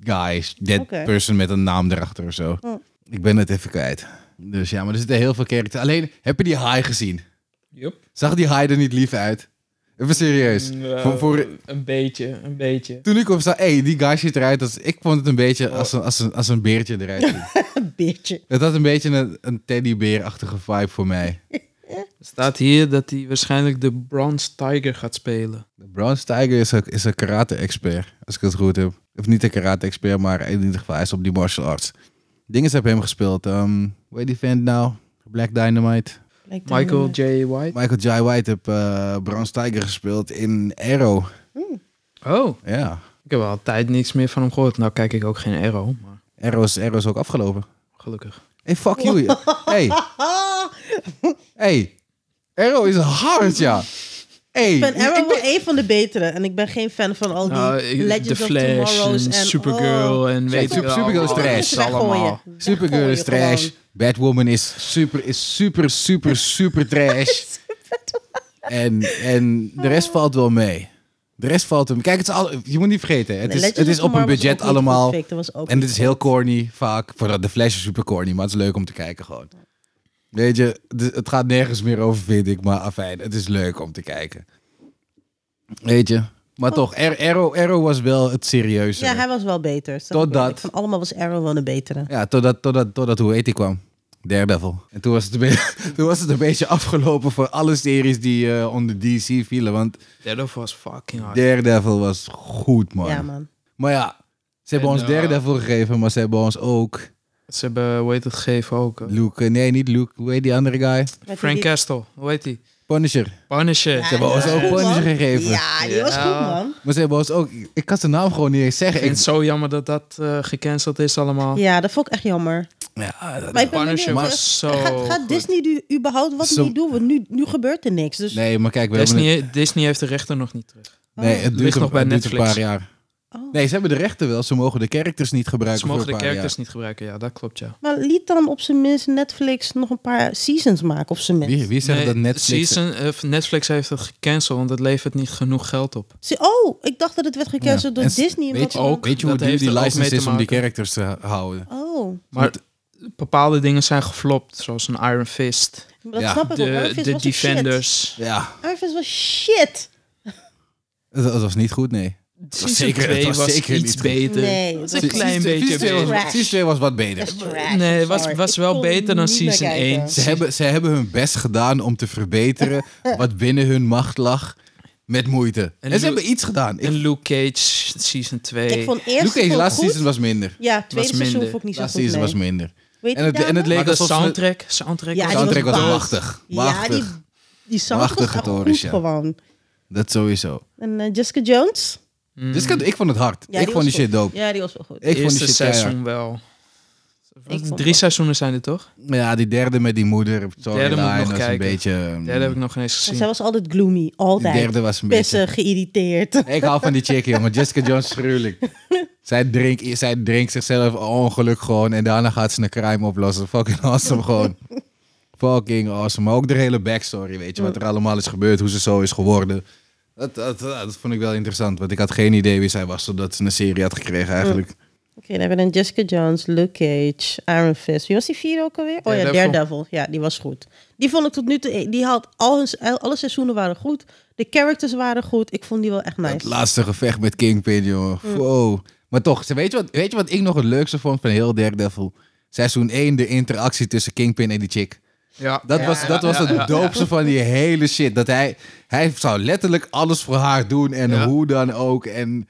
guy, dead
Oké.
person met een naam erachter of zo.
Hm.
Ik ben het even kwijt. Dus ja, maar er zitten heel veel characters. Alleen, heb je die haai gezien?
Yup.
Zag die haai er niet lief uit? Even serieus.
Mm, eh,
Voor, voor,
Een beetje, een beetje.
toen ik op zag, hé, hey, die guy ziet eruit als... Ik vond het een beetje als een, als een, als een beertje eruit. ziet.
Een beetje.
[laughs] het had een beetje een, een teddybeerachtige vibe voor mij.
Er staat hier dat hij waarschijnlijk de Bronze Tiger gaat spelen.
De Bronze Tiger is een, is een karate-expert, als ik het goed heb. Of niet een karate-expert, maar in ieder geval hij is op die martial arts. Dingen hebben hem gespeeld. ehm hoe heet die vent nou? Black Dynamite.
Lijkt er
Michael
niet
J. White.
Michael Jai White heeft eh Bronze Tiger gespeeld in Arrow.
Oh,
Ja,
ik heb al een tijd niks meer van hem gehoord. Nou kijk ik ook geen Arrow, maar
Arrow is, Arrow is ook afgelopen.
gelukkig.
Mm.
Hey, fuck
[laughs]
you. Hey,
meer. Ah,
hey. Arrow is hard, ja. Hey,
ik ben Arrow
ik ben-
wel een van de betere. En ik ben geen fan van al die
Nou, ik-
Legends
The
of
Flash
Tomorrow's.
en
en-
Supergirl
oh.
en weet
Super-
ik wel.
Supergirl is
Oh, dat
trash.
Weggooien.
allemaal.
Supergirl is
Weggooien
trash. Batwoman is super, is super, super,
[laughs]
super trash. en, en de rest
Ah.
valt wel mee. De rest valt hem. Kijk, het is al, je moet niet vergeten. Het
Nee, dus
is,
Legends
het
of
is op een
Tomorrow was ook
budget
niet goed,
allemaal.
Vic. Dat was ook
En
niet
dit is heel corny vaak. Voordat de Flash is super corny, maar het is leuk om te kijken gewoon. Weet je, het het gaat nergens meer over, vind ik. Maar afijn, het is leuk om te kijken. Weet je. Maar toch, Ar- Arrow, Arrow was wel het serieuze.
Oh. Ja, hij was wel beter. zeg ik
Totdat-
eerlijk. Van allemaal was Arrow wel een betere.
Ja, totdat, totdat, totdat hoe heet die kwam. Daredevil. En toen was, het een beetje, [laughs] toen was het een beetje afgelopen voor alle series die eh, onder DC vielen. Want
Daredevil was fucking hard.
Daredevil was goed, man.
Ja, man.
Maar ja, ze hebben
En,
ons
eh,
Daredevil gegeven, maar ze hebben ons ook
Ze hebben, hoe heet het, gegeven ook. eh,
Luke... eh, Nee, niet Luke. Hoe heet die andere guy?
Met
Frank
die-
Castle, hoe heet die?
Punisher.
Punisher.
Ja,
Ze hebben
die
ons
was
ook
goed,
Punisher
man.
gegeven.
Ja, die was
Ja.
goed, man.
Maar ze hebben ons ook... Ik kan zijn naam gewoon niet eens
Ik
zeggen.
vind
Ik,
het zo jammer dat dat eh, gecanceld is allemaal.
Ja, dat vond ik echt jammer.
ja, dat-
Maar ik ben
Punisher
benieuwd,
was
hè.
zo
Gaat, gaat
goed.
Disney nu überhaupt wat
Zo-
niet doen? Want nu, nu gebeurt er niks. Dus
nee, maar kijk, we hebben...
Disney, Disney heeft de rechten nog niet terug.
Nee, het duurt,
Ligt
een,
nog bij
het duurt een
Netflix.
paar jaar.
Oh.
Nee, ze hebben de rechten wel. Ze mogen de characters niet gebruiken
Ze mogen
voor
de
een paar
characters niet gebruiken, ja, dat klopt, ja.
Maar liet dan op zijn minst Netflix nog een paar seasons maken, op zijn
jaar.
minst.
Wie, wie zegt
Nee,
dat Netflix...
season- eh, Netflix heeft het gecanceld, want het levert niet genoeg geld op.
Zie- Oh, ik dacht dat het werd gecanceld
Ja.
door
En s-
Disney.
Weet
omdat
je,
ze dan-
ook, weet je hoe
Dat
duur
heeft
die
er ook mee
license
te
is om die
maken.
characters te houden?
Oh,
Maar bepaalde dingen zijn geflopt, zoals een Iron Fist.
Oh, dat
Ja.
snap ik ook.
De,
Iron Fist
de
was ook
Defenders.
Ja,
shit. Iron Fist was shit.
dat, dat was niet goed, nee.
Season
zeker-
2
het was
was,
zeker
iets
niet goed.
beter.
Nee,
dat is
dat
een
was-
klein
Season-
beetje
Season 2
beter.
was,
Trash.
season 2 was wat
Dat is
beter.
trash,
Nee,
I'm
was-
sorry.
was
Ik
wel
kon
beter dan
niet meer
season
kijken.
1.
Ze hebben, ze hebben hun best gedaan om te verbeteren wat binnen hun macht lag met moeite. En,
Lu-
ze hebben iets gedaan. Ik,
En Luke Cage, season 2.
Ik vond eerst
Luke Cage,
vond ik
laatste
goed.
season was minder.
Ja, tweede
was
seizoen
minder.
vond ik niet zo
Laatste
goed.
season
nee.
was minder.
Weet
en
je
het- en het
daarna?
leek
maar de
alsoundtrack
soundtrack, soundtrack
Ja,
was
die was
soundtrack was
baas.
machtig.
Ja,
Machtig.
die, die soundtrack was
Machtige
echt
torens,
goed
ja.
gewoon.
Dat sowieso.
En eh, Jessica Jones?
Mm.
Dus ik, ik vond het hard.
Ja,
ik
die
vond die
was
shit dope.
Ja, die was wel goed.
Ik vond
eerste
die shit keihard.
seizoen wel.
vond het
Drie
wel.
seizoenen zijn er toch?
Ja, die derde met die moeder. Sorry,
Derde moet ik
Lion,
nog
was een
kijken.
beetje...
Ja, dat heb ik nog geen eens
Maar
gezien.
zij was altijd gloomy,
Die
altijd.
derde was een beetje...
Pissen, geïrriteerd.
Ik hou van die chick, jongen. Jessica Jones is gruwelijk. Zij drinkt, zij drinkt zichzelf ongeluk gewoon en daarna gaat ze een crime oplossen. Fucking awesome gewoon. Fucking awesome. Maar ook de hele backstory, weet je, wat er allemaal is gebeurd, hoe ze zo is geworden. Dat, dat, dat vond ik wel interessant, want ik had geen idee wie zij was totdat ze een serie had gekregen eigenlijk.
Oké, dan hebben we dan Jessica Jones, Luke Cage, Iron Fist. Wie was die vierde ook alweer? Oh ja,
Daredevil.
Daredevil. Ja, die was goed. Die vond ik tot nu toe... Die had al hun, alle seizoenen waren goed. De characters waren goed. Ik vond die wel echt
Het
nice.
laatste gevecht met Kingpin, jongen. Wow. Maar toch, ze- weet je, wat, weet je wat ik nog het leukste vond van heel Daredevil? Seizoen 1, de interactie tussen Kingpin en die chick.
Ja.
Dat was, dat was het
ja, ja.
doopste van die hele shit. Dat hij, hij zou letterlijk alles voor haar doen en
Ja.
hoe dan ook. En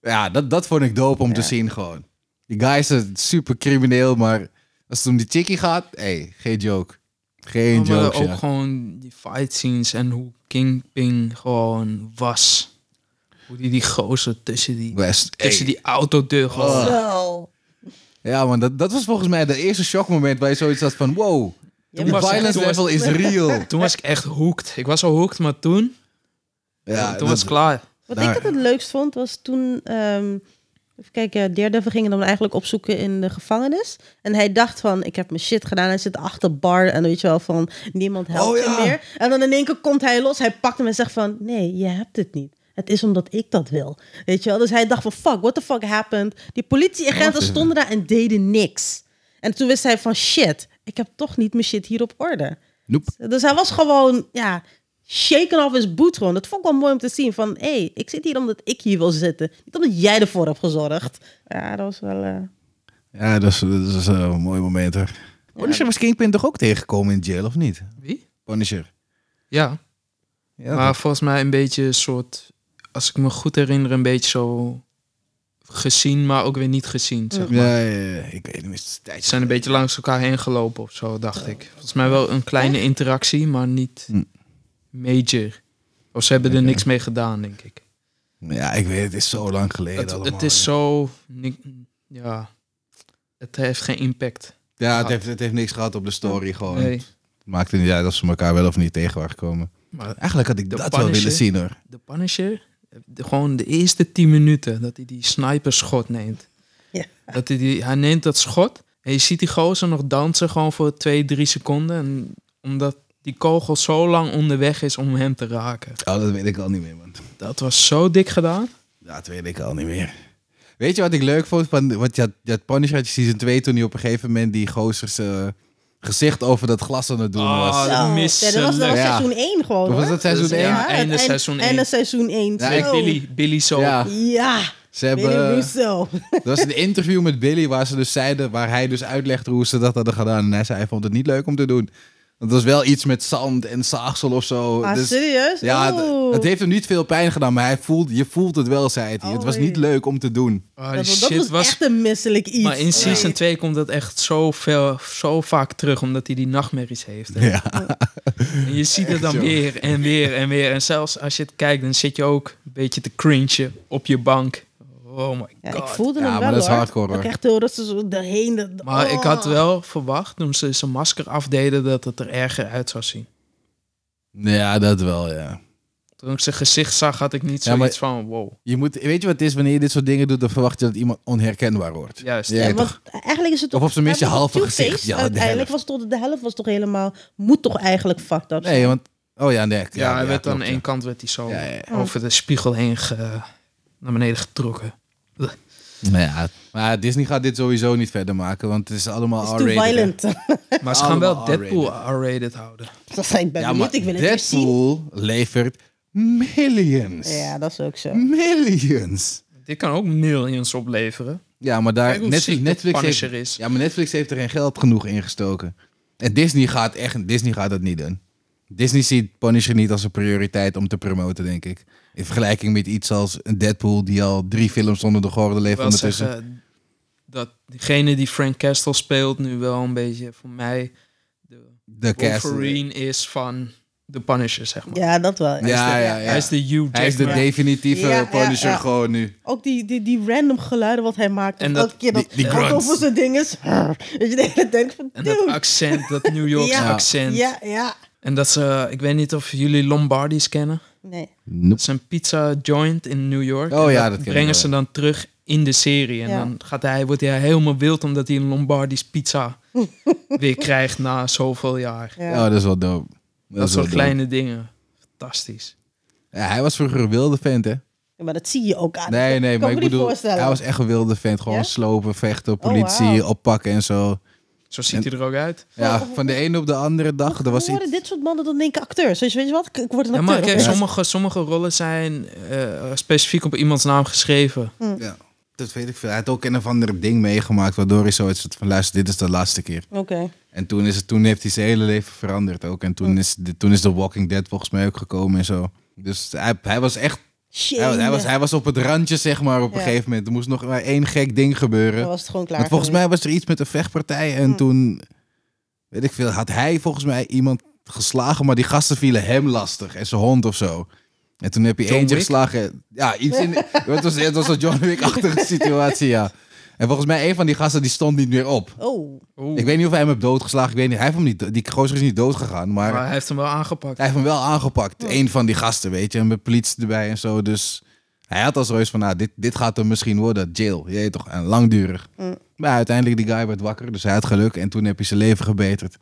ja, dat, dat vond ik dope om te zien gewoon. Die guy is een super crimineel, maar als het om die chickie gaat, hey, geen joke. Geen
Maar
joke,
ook
ja.
gewoon die fight scenes en hoe Kingpin gewoon was. Hoe die, die gozer tussen die,
West.
tussen
Hey. Oh.
die autodeur gewoon.
Zo.
Ja, man, dat, dat was volgens mij de eerste shockmoment waar je zoiets had van, wow,
Ja,
de
was-
violence
toen was-
level is real.
Toen was ik echt hooked. Ik was al hooked, maar toen,
Ja,
toen was
dat-
het klaar.
Wat
Daar-
ik het het leukst vond, was toen... ehm even kijken, Daredevil ging hem dan eigenlijk opzoeken in de gevangenis. En hij dacht van, ik heb mijn shit gedaan. Hij zit achter bar en weet je wel van, niemand helpt
Oh, ja.
hem meer. En dan in één keer komt hij los. Hij pakt hem en zegt van, nee, je hebt het niet. Het is omdat ik dat wil. Weet je wel? Dus hij dacht van, fuck, what the fuck happened? Die politieagenten
Wat is-
stonden daar en deden niks. En toen wist hij van, shit, ik heb toch niet mijn shit hier op orde.
Noep.
Dus hij was gewoon, ja, shaken off his boot gewoon. Dat vond ik wel mooi om te zien. Van, hé, hey, ik zit hier omdat ik hier wil zitten. Niet omdat jij ervoor hebt gezorgd. Ja, dat was wel... eh,
Ja, dat is, dat is eh, een mooi moment, hoor. Punisher was Kingpin toch ook tegengekomen in jail, of niet?
Wie?
Punisher.
Ja,
Ja,
maar volgens mij een beetje een soort, als ik me goed herinner, een beetje zo gezien, maar ook weer niet gezien. Zeg maar.
Ja, ja, ja, ik weet niet. Het is
Ze
tijd.
zijn een beetje langs elkaar heen gelopen of zo, dacht ik. Volgens mij wel een kleine interactie, maar niet
Hm.
major. Of ze hebben er niks mee gedaan, denk ik.
Ja, ik weet het. is zo lang geleden
Het,
allemaal.
het is zo. ni- Ja. Het heeft geen impact.
Ja, het heeft, het heeft niks gehad op de story gewoon.
Ah. Nee.
Het maakte Oh, niet uit of ze elkaar wel of niet tegen waren gekomen.
Maar
Eigenlijk had ik
De
dat wel
Punisher?
willen zien, hoor.
de Punisher, de- gewoon de eerste 10 minuten dat hij die sniperschot neemt.
Ja.
Dat hij, die, hij neemt dat schot en je ziet die gozer nog dansen gewoon voor 2, 3 seconden. En omdat die kogel zo lang onderweg is om hem te raken.
Oh, dat weet ik al niet meer, man.
Dat was zo dik
Oh,
gedaan.
Dat weet ik al niet meer. Weet je wat ik leuk vond? Van, want je had, je had Punisher uit season 2 toen hij op een gegeven moment die gozers eh, gezicht over dat glas aan het doen was.
Oh,
zo.
dat
Ja, dat was, dat was
Ja.
seizoen 1 gewoon,
Of was
hoor.
dat seizoen
Dus,
1?
ja.
het
einde
eind-
seizoen één.
Einde seizoen 1.
Ja,
Met Billy, Billy zo.
Ja,
Ja,
ze
Billy
hebben... eh, oh,
Russo. [laughs]
Er was een interview met Billy waar ze dus zeiden, waar hij dus uitlegde hoe ze dat hadden gedaan. En hij zei, hij vond het niet leuk om te doen. Want het was wel iets met zand en zaagsel of zo.
Ah,
Dus-
serieus? Oh.
ja,
Oeh.
d- het heeft hem niet veel pijn gedaan, maar hij voelt, je voelt het wel, zei hij.
Oh,
Het was niet
Oei.
leuk om te doen. [laughs]
Oh, die
Dat, was- dat
shit
was,
was
echt een misselijk iets.
Maar in
Ja.
season 2 komt dat echt zo, veel, zo vaak terug, omdat hij die nachtmerries heeft. hè.
Ja.
En
[laughs]
je ziet het dan
joh.
weer en weer en weer. En zelfs als je het kijkt, dan zit je ook een beetje te cringen op je bank. Oh my
Ja, ik
god.
voelde
Ja,
hem
maar
wel,
dat is
hoor.
hardcore, hoor.
Ik echt hoor dat ze zo daarheen... dat-
Maar ik had
oh.
wel verwacht, toen ze zijn masker afdeden, dat het er erger uit zou zien.
Ja, dat wel, ja.
Toen ik zijn gezicht zag, had ik niet
Ja,
zoiets van wow.
Je moet, weet je wat het is? Wanneer je dit soort dingen doet, dan verwacht je dat iemand onherkenbaar wordt.
Juist.
Ja,
Ja,
toch?
want eigenlijk is het
Of op zijn minst je
Ja, maar
halve
Two-Face,
gezicht. Ja, de
uiteindelijk
helft.
was toch de helft was toch helemaal moet toch eigenlijk fucked up. zijn?
Nee, want... Oh ja, nee. Ja,
Ja, hij
ja,
werd aan
klopt, ja.
één kant werd hij zo
Ja, ja,
ja.
over de spiegel heen ge- naar beneden
[laughs]
getrokken.
Nou ja, maar Disney gaat dit sowieso niet verder maken, want het is allemaal
Het is
R-rated.
too violent. [laughs]
Maar ze gaan wel
Allemaal
Deadpool R-rated houden.
dat zei ik ben
Ja, maar
benieuwd, ik wil het weer zien.
Deadpool levert millions.
Ja, dat is ook zo.
Millions.
Dit kan ook millions opleveren.
Ja, maar daar
Kijk hoe ziek
Netflix,
dat
Netflix
Punisher
heeft,
is.
Ja, maar Netflix heeft er geen geld genoeg in gestoken. En Disney gaat echt Disney gaat dat niet doen. Disney ziet Punisher niet als een prioriteit om te promoten, denk ik. In vergelijking met iets als een Deadpool die al drie films onder de gordel
Ik
heeft
wil
ondertussen.
zeggen dat degene die Frank Castle speelt nu wel een beetje voor mij de
de cast.
Wolverine is van de Punisher, zeg maar.
Ja, dat wel.
Ja, ja, ja.
Hij is de Hugh
Hij is de
Jackman.
definitieve
Ja, ja,
Punisher
ja.
gewoon nu.
Ook die, die, die random geluiden wat hij maakt.
En
En
dat-
elke keer dat
die- die
dat
grunts.
over zijn ding is. [laughs] Dat je de hele tijd denkt van,
En dat
dude.
accent, dat New Yorks
Ja.
accent.
Ja, ja.
En dat ze, ik weet niet of jullie Lombardi's kennen.
Nee.
Dat is een pizza joint in New York.
Oh
En
ja,
dat
dat ken ik
brengen
wel,
ze dan terug in de serie. En
Ja.
dan gaat hij, wordt hij helemaal wild omdat hij een Lombardi's
[laughs]
pizza weer krijgt na zoveel jaar.
Ja.
Oh, dat is wel dope.
Dat,
is wel
soort
dope.
kleine dingen. Fantastisch.
Ja, hij was vroeger een wilde vent, hè?
Ja, maar Ah, dat zie je ook aan.
Nee, nee,
kan
maar
me
ik
niet
bedoel,
voorstellen.
hij was echt een wilde vent. Gewoon
Ja? Oh,
slopen, vechten,
wauw.
politie, oppakken en zo.
Zo ziet hij er ook uit.
[laughs]
Ja,
Oh.
van de ene op de andere dag,
Hoe
er was
worden
iets...
dit soort mannen dan denk ik acteurs? Dus weet je wat, ik, ik word een
Ja,
acteur.
maar kijk,
oké?
sommige, sommige rollen zijn eh, specifiek op iemands naam geschreven.
Ja, dat weet ik veel. Hij had ook een of ander ding meegemaakt, waardoor hij zoiets had van, luister, dit is de laatste keer.
Oké.
En toen, is het, toen heeft hij zijn hele leven veranderd ook. En toen is, de, toen is The Walking Dead volgens mij ook gekomen en zo. Dus hij, hij was echt...
Shit.
Hij, was- hij was, hij was op het randje, zeg maar, op een
Ja.
gegeven moment. Er moest nog maar één gek ding gebeuren.
Dan was het gewoon klaar.
Want volgens mij was er iets met een vechtpartij. En toen, weet ik veel, had hij volgens mij iemand geslagen. Maar die gasten vielen hem lastig. En zijn hond of zo. En toen heb je
John
eentje
Wick?
geslagen. Ja, iets in... het, was, het was een John Wick-achtige situatie, ja. En volgens mij een van die gasten die stond niet meer op.
Oh,
Oeh,
Ik weet niet of hij hem heeft doodgeslagen. Ik weet niet. Hij heeft hem niet, do- die gozer is niet doodgegaan. Maar
maar hij heeft hem wel aangepakt.
hij heeft hem wel aangepakt.
Oh.
Eén van die gasten, weet je. En met politie erbij en zo. Dus hij had al zoiets van, nou, dit, dit gaat hem misschien worden. Jail, je weet toch. En langdurig.
Mm.
Maar uiteindelijk, die guy werd wakker. Dus hij had geluk. En toen heb hij zijn leven gebeterd.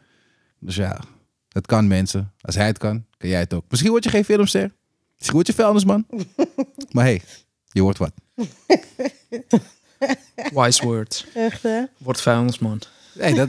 Dus ja, dat kan mensen. Als hij het kan, kan jij het ook. Misschien word je geen filmster. Misschien word je vuilnisman. maar hey, je wordt wat.
Wise words.
echt hè?
Wordt vuilnisman.
Nee, dat,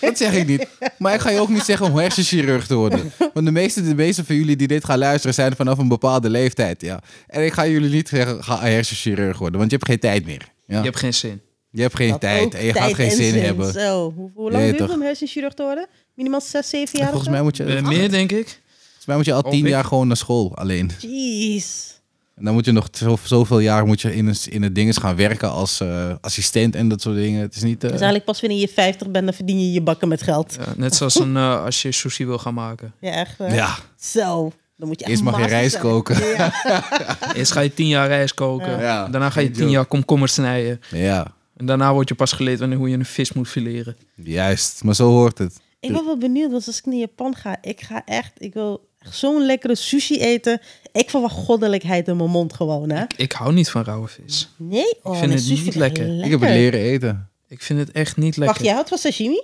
dat zeg ik niet. Maar ik ga je ook niet zeggen om hersenchirurg te worden. Want de meeste, de meeste van jullie die dit gaan luisteren zijn vanaf een bepaalde leeftijd. Ja. En ik ga jullie niet zeggen, ga hersenchirurg worden. Want je hebt geen tijd meer. Ja.
Je hebt geen zin.
Je hebt geen
Dat ook
tijd en je
tijd
gaat geen
en
zin hebben.
Zo, hoe, hoe lang
Nee,
duurt het
toch?
om hersenchirurg te worden? Minimaal 6, 7 jaar
Volgens mij, moet je,
Eh, meer, denk ik.
volgens mij moet je al
Hoop
tien
ik.
jaar gewoon naar school alleen.
Jeez.
En dan moet je nog zo- zoveel jaar moet je in, een, in het ding eens gaan werken als eh, assistent en dat soort dingen. Het is niet... eh,
Dus eigenlijk pas wanneer je 50 bent, dan verdien je je bakken met geld.
Ja, net zoals een, eh, als je sushi wil gaan maken.
Ja, echt. hè?
ja,
Zo, dan moet je echt
eerst mag je
master
rijst
zijn.
koken. [laughs]
Ja. Ah.
Eerst ga je tien jaar rijst koken.
Ja.
Daarna ga je
Geen
tien
joke.
jaar komkommers snijden.
Ja,
En daarna word je pas geleerd wanneer hoe je een vis moet fileren.
juist. Maar zo hoort het.
Ik ben wel benieuwd, want als ik naar Japan ga, ik ga echt, ik wil echt zo'n lekkere sushi eten. Ik verwacht goddelijkheid in mijn mond gewoon, hè?
Ik hou niet van rauwe vis.
Nee, oh,
vind
en
het
sushi
niet
vind
lekker.
Ik heb het leren eten.
Ik vind het echt niet lekker.
Wacht, jij houdt van sashimi?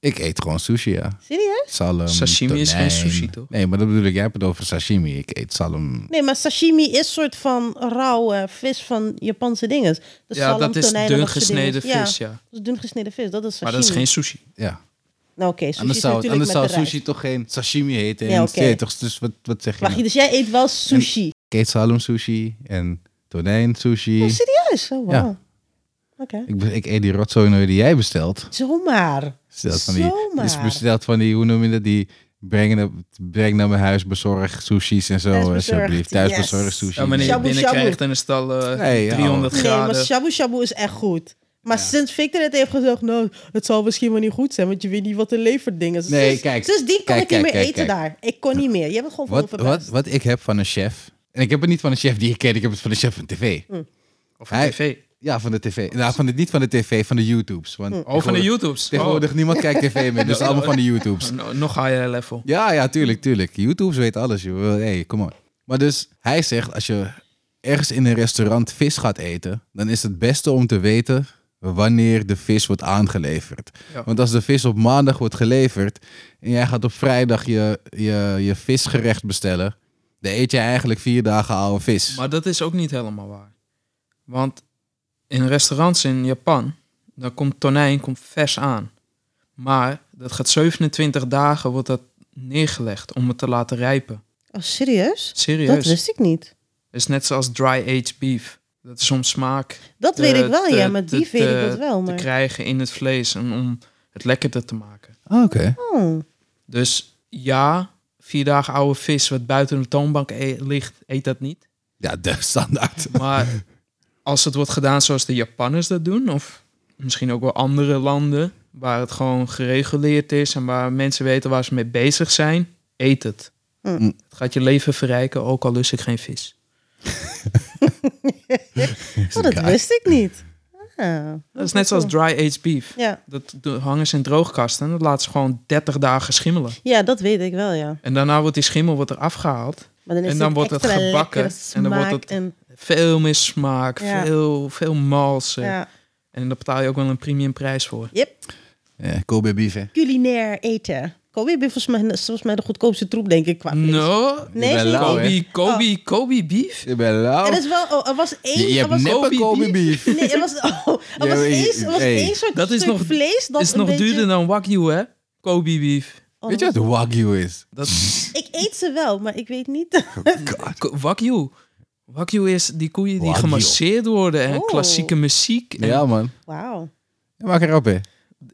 Ik eet gewoon sushi, ja.
Serieus?
Salm,
Sashimi is geen
tonijn.
sushi, toch?
Nee, maar dat bedoel ik. Jij hebt het over sashimi. Ik eet salm.
Nee, maar sashimi is soort van rauwe vis van Japanse dingen. Dus
ja,
salm,
dat is
tonijn en
dun
dat soort
gesneden
dinges.
vis,
Ja,
ja.
dat is dun gesneden vis, dat is sashimi.
Maar dat is geen sushi.
Ja.
Nou oké, sushi
Anders
is
zou,
natuurlijk
anders
met
zou
de rijst.
sushi toch geen sashimi heten.
Ja,
en
oké.
je toch, dus wat, wat zeg je?
Wacht,
nou?
dus jij eet wel sushi?
Ik eet salm sushi en tonijn sushi.
Oh, serieus? Oh, wow.
Ja.
Oké.
ik, be- ik eet die rotzooi nooit die jij bestelt.
Zomaar.
Besteld van die,
Zomaar.
is besteld van die, hoe noem je dat? Die breng, naar- breng naar mijn huis, bezorg sushi's en zo.
Thuisbezorgd,
Alsjeblieft. Thuis
yes.
bezorgd sushi.
Ja, wanneer je het
Shabu
binnenkrijgt
shabu.
en is het al eh,
Nee, ja.
300
Nee, maar
graden.
shabu shabu is echt goed. Maar sinds Victor het heeft gezegd, nou, het zal misschien wel niet goed zijn, want je weet niet wat de leverding is.
Nee,
Sinds-
kijk,
Sindsdien kon
kijk,
ik niet meer
kijk, kijk,
eten
kijk.
daar. Ik kon niet meer. Je bent gewoon
Wat,
van
wat, wat ik heb van een chef. En ik heb het niet van een chef die ik ken, ik heb het van een chef van tv.
Mm.
Of een
Hij-
tv.
Ja, van de tv. Nou, van de, niet van de tv, van de YouTubes. Want
Oh, van de
tegenwoordig-
YouTubes.
Tegenwoordig niemand kijkt tv
[laughs]
meer, dus allemaal van de YouTubes.
Oh, no- nog higher level.
Ja, ja, tuurlijk, tuurlijk. YouTubes weten alles, joh. Hey, kom on. Maar dus hij zegt, als je ergens in een restaurant vis gaat eten, dan is het beste om te weten wanneer de vis wordt aangeleverd.
Ja.
Want als de vis op maandag wordt geleverd en jij gaat op vrijdag je, je, je visgerecht bestellen, dan eet je eigenlijk vier dagen oude vis.
Maar dat is ook niet helemaal waar. Want in restaurants in Japan, dan komt tonijn komt vers aan. Maar dat gaat 27 dagen wordt dat neergelegd om het te laten rijpen.
Oh, serieus? Dat
Serieus. Het
wist ik niet.
is net zoals dry-aged beef. Dat is om smaak
Dat
te-
weet ik wel,
te-
ja, maar
te-
die weet
te-
ik dat wel.
te
Maar...
krijgen in het vlees en om het lekkerder te maken.
Ah, Oké.
Oh,
Dus ja, vier dagen oude vis wat buiten de toonbank e- ligt, eet dat niet.
Ja, de standaard.
Maar als het wordt gedaan zoals de Japanners dat doen, of misschien ook wel andere landen waar het gewoon gereguleerd is en waar mensen weten waar ze mee bezig zijn, eet het.
Mm.
Mm.
Het gaat je leven verrijken, ook al lust ik geen vis.
oh dat wist ik niet. Ah,
Dat is net zoals dry-aged beef.
Ja.
Dat do- hangen ze in droogkasten en dat laten ze gewoon 30 dagen schimmelen.
ja, dat weet ik wel, ja.
En daarna wordt die schimmel wordt eraf gehaald.
Maar dan is
En dan
het
wordt het
extra
gebakken
lekkere
en dan wordt
smaak
het-
en-
Veel meer smaak,
Ja.
veel, veel malsen.
ja.
En daar betaal je ook wel een premium prijs voor.
Ja, Kobe beef, hè?
culinair eten. Kobe beef is volgens mij, is volgens mij de goedkoopste troep, denk ik, qua vlees.
No,
Ah, Nee, Nou, Oh.
Ik ben
is niet.
lauw, hè?
Kobe, Kobe, Kobe beef.
Ik ben lauw.
Er is wel, oh, er was één...
Je, je
er
hebt
was,
neppe
Kobe
Kobe beef.
[laughs] Nee, er was, oh, er
[laughs]
Ja,
was,
maar-
één, er was
hey,
één soort
dat is
stuk
nog-
vlees dat
is
een
nog
beetje-
duurder dan Wagyu, hè? Kobe beef.
Oh,
Weet je wat wagyu
[laughs]
is?
Dat,
[laughs]
Ik eet ze wel, maar ik weet niet... [laughs]
Ko- Wagyu. Wagyu is die koeien die
Wagyu.
gemasseerd worden en
Oh.
klassieke muziek. En
Ja, man.
Wauw.
Ja, maak erop,
Dus
hè?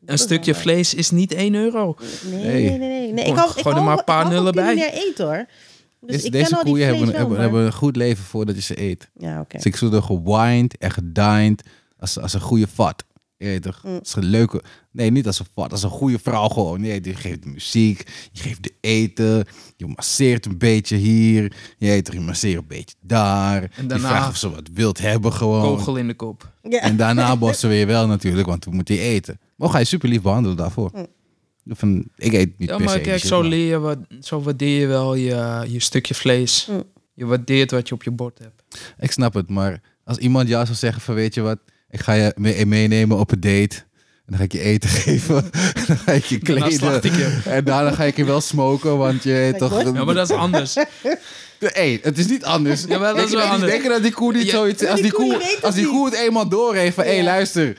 een stukje vlees is niet 1 euro.
Nee,
Hey.
nee, nee. nee. nee ik
Gooi-
hou, ik
gooi er
hou-
maar een paar
ik hou van
nullen bij.
culinair eten, hoor. Dus
Deze-
ik
deze
ken al die
koeien
vlees
hebben,
wel,
hebben,
maar-
hebben een goed leven voordat je ze eet. Dus
Ja, oké.
Ze worden gewined en gedined als, als een goede vat. Je weet toch?
Mm.
Als een leuke... Nee, niet als een vat. Als een goede vrouw gewoon. Nee, die geeft de muziek. Je geeft de eten. Je masseert een beetje hier. Je, weet toch, je masseert een beetje daar. En
daarna-
Je vraagt of ze wat wilt hebben gewoon.
Kogel in de kop.
Ja.
[laughs]
[laughs]
En daarna bossen we je wel natuurlijk, want we moeten je eten. Maar ga je super lief behandelen daarvoor. Van, ik eet niet
Ja,
per se
maar
die
kijk,
shit,
zo
maar-
leer je wat, zo waardeer je wel je, je stukje vlees.
Mm.
Je waardeert wat je op je bord hebt.
Ik snap het, maar als iemand jou zou zeggen van weet je wat, ik ga je mee- meenemen op een date. En dan ga ik je eten [laughs] geven. En dan ga ik je
Daarna
kleden.
slacht ik je.
En daarna ga ik je wel smoken, want je weet toch...
Kijk,
Ja, maar dat is anders.
[laughs] Hey, het is niet anders.
Ja, maar dat
Denk
is
je
wel
die-
anders.
Denk je dat die koe niet
Ja,
zoiets... Als
die
die
koe
koe,
weet dat
als die
niet.
koe het eenmaal doorheeft van... Hé,
Ja.
luister.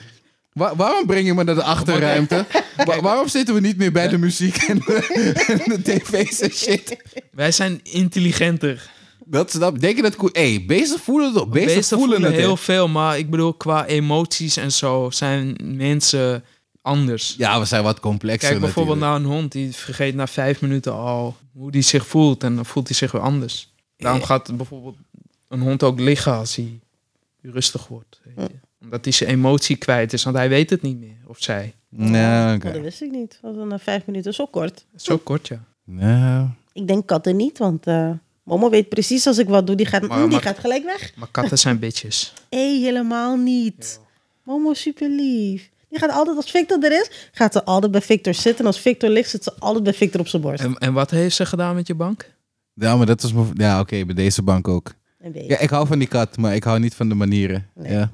wa- waarom breng je me naar de
[laughs]
achterruimte? Wa- waarom zitten we niet meer bij de muziek en de, en de tv's en shit?
Wij zijn intelligenter.
Dat snap Denk je dat koe... Hé, beesten voelen het op. Beesten,
Meestal
voelen, het. hè.
heel veel, maar ik bedoel, qua emoties en zo zijn mensen anders.
Ja, we zijn wat complexer
Kijk bijvoorbeeld
natuurlijk.
naar een hond, die vergeet na vijf minuten al hoe die zich voelt en dan voelt hij zich weer anders. Daarom gaat bijvoorbeeld een hond ook liggen als hij rustig wordt. Weet je. Omdat hij zijn emotie kwijt is, want hij weet het niet meer, of zij.
Ja, oké.
Oh, dat wist ik niet. Dat was na vijf minuten zo kort.
Zo kort, ja.
Nou,
Ik denk katten niet, want... eh Mama weet precies als ik wat doe, die gaat,
Maar-
mm, die
maar-
gaat gelijk weg.
Maar katten zijn bitches.
Hé, helemaal niet. Momo is super lief. Die gaat altijd, als Victor er is, gaat ze altijd bij Victor zitten. En als Victor ligt, zit ze altijd bij Victor op zijn borst.
En, en wat heeft ze gedaan met je bank?
ja, maar dat was... mijn- Ja, oké, bij deze bank ook.
En weet.
Ja, ik hou van die kat, maar ik hou niet van de manieren.
Nee.
Ja.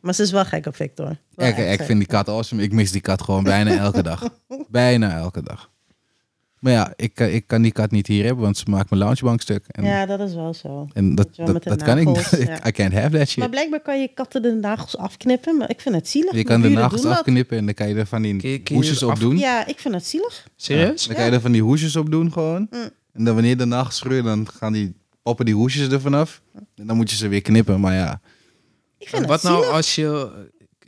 Maar ze is wel gek op Victor. Wel
Ik,
echt
ik
gek.
vind die kat awesome. Ik mis die kat gewoon bijna elke
[laughs]
dag. Bijna elke dag. Maar ja, ik, eh, ik kan die kat niet hier hebben, want ze maakt mijn loungebank stuk. En,
Ja, dat is wel zo.
en dat,
Weet je wel,
dat,
met de
dat kan ik niet. [laughs]
nagels,
Ik-
ja.
I can't have that
Maar
shit.
blijkbaar kan je katten de nagels afknippen. Maar ik vind het zielig.
Je kan de
Buren
nagels
doen dat.
afknippen en dan kan je er van
Kun je-
die
kun je
hoesjes
af-
op doen.
Ja, ik vind het zielig.
Serieus?
Dan kan je er van die hoesjes op doen gewoon.
Mm.
En dan wanneer de nagels groeien, dan gaan die, poppen die hoesjes er vanaf. En dan moet je ze weer knippen, maar ja.
Ik vind
En wat
het
nou
zielig.
als je...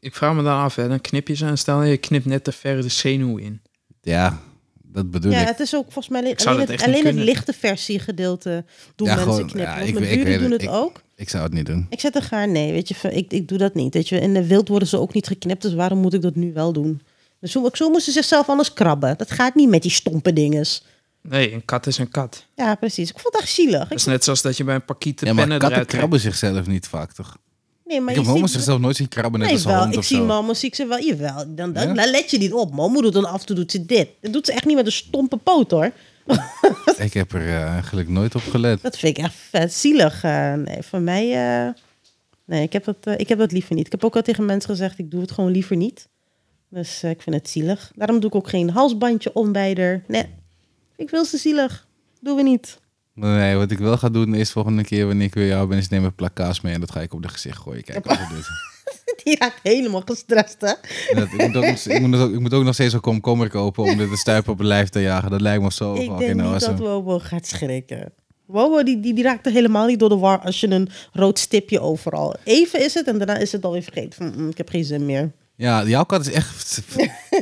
Ik vraag me dan af, hè, dan knip je ze en stel je knipt net te ver de zenuw in.
Ja, dat bedoel
ja,
ik.
het is ook volgens mij alleen,
zou dat
alleen,
echt
het,
niet
alleen het
kunnen.
lichte versie gedeelte doen
Ja,
mensen
gewoon-
knippen.
ja,
Want
ik
mijn
weet- ik
buren
weet
doen
het.
het
Ik-
ook.
Ik zou het niet doen.
Ik zet een gaar nee, weet je, van, ik, ik doe dat niet. Weet je, in de wild worden ze ook niet geknipt, dus waarom moet ik dat nu wel doen? Dus zo, zo moesten ze zichzelf anders krabben. Dat gaat niet met die stompe dinges.
Nee, een kat is een kat.
Ja, precies. Ik vond het echt zielig.
Dat
Dus
Ik,
is net zoals dat je bij een pakiet de
Ja, maar
pennen
katten
eruit trekt.
krabben zichzelf niet vaak, toch?
nee, maar
ik heb
je
homo's
ziet-
zichzelf nooit zien krabben net
Nee,
als een
wel.
hond
Ik
of
zie
zo.
mama, zie ik ze wel. Jawel, dan, dan,
Ja?
dan let je niet op. Mama doet dan af en toe doet ze dit. Dat doet ze echt niet met een stompe poot, hoor.
ik heb er eh, eigenlijk nooit op gelet.
Dat vind ik echt vet zielig. Eh, nee, voor mij... eh, nee, ik heb, dat, eh, ik heb dat liever niet. Ik heb ook al tegen mensen gezegd, ik doe het gewoon liever niet. Dus eh, ik vind het zielig. Daarom doe ik ook geen halsbandje om bij haar. Nee, ik wil ze zielig. Doen we niet. [laughs]
Nee, wat ik wel ga doen is volgende keer wanneer ik weer jou ben, is neem een plakkaas mee en dat ga ik op de gezicht gooien. Kijk, wat het doet.
[laughs] Die raakt helemaal gestrest, hè?
Dat, ik, moet ook, nog- ik, moet ook, ik moet ook nog steeds een komkommer kopen om dit de stuip op het lijf te jagen. Dat lijkt me zo
Ik
fucking
denk niet
awesome.
dat Wobo gaat schrikken. Wobo die, die, die raakt er helemaal niet door de war als je een rood stipje overal. Even is het en daarna is het alweer vergeten. Van, "Mm, ik heb geen zin meer.
Ja, jouw kat is
[laughs]
echt...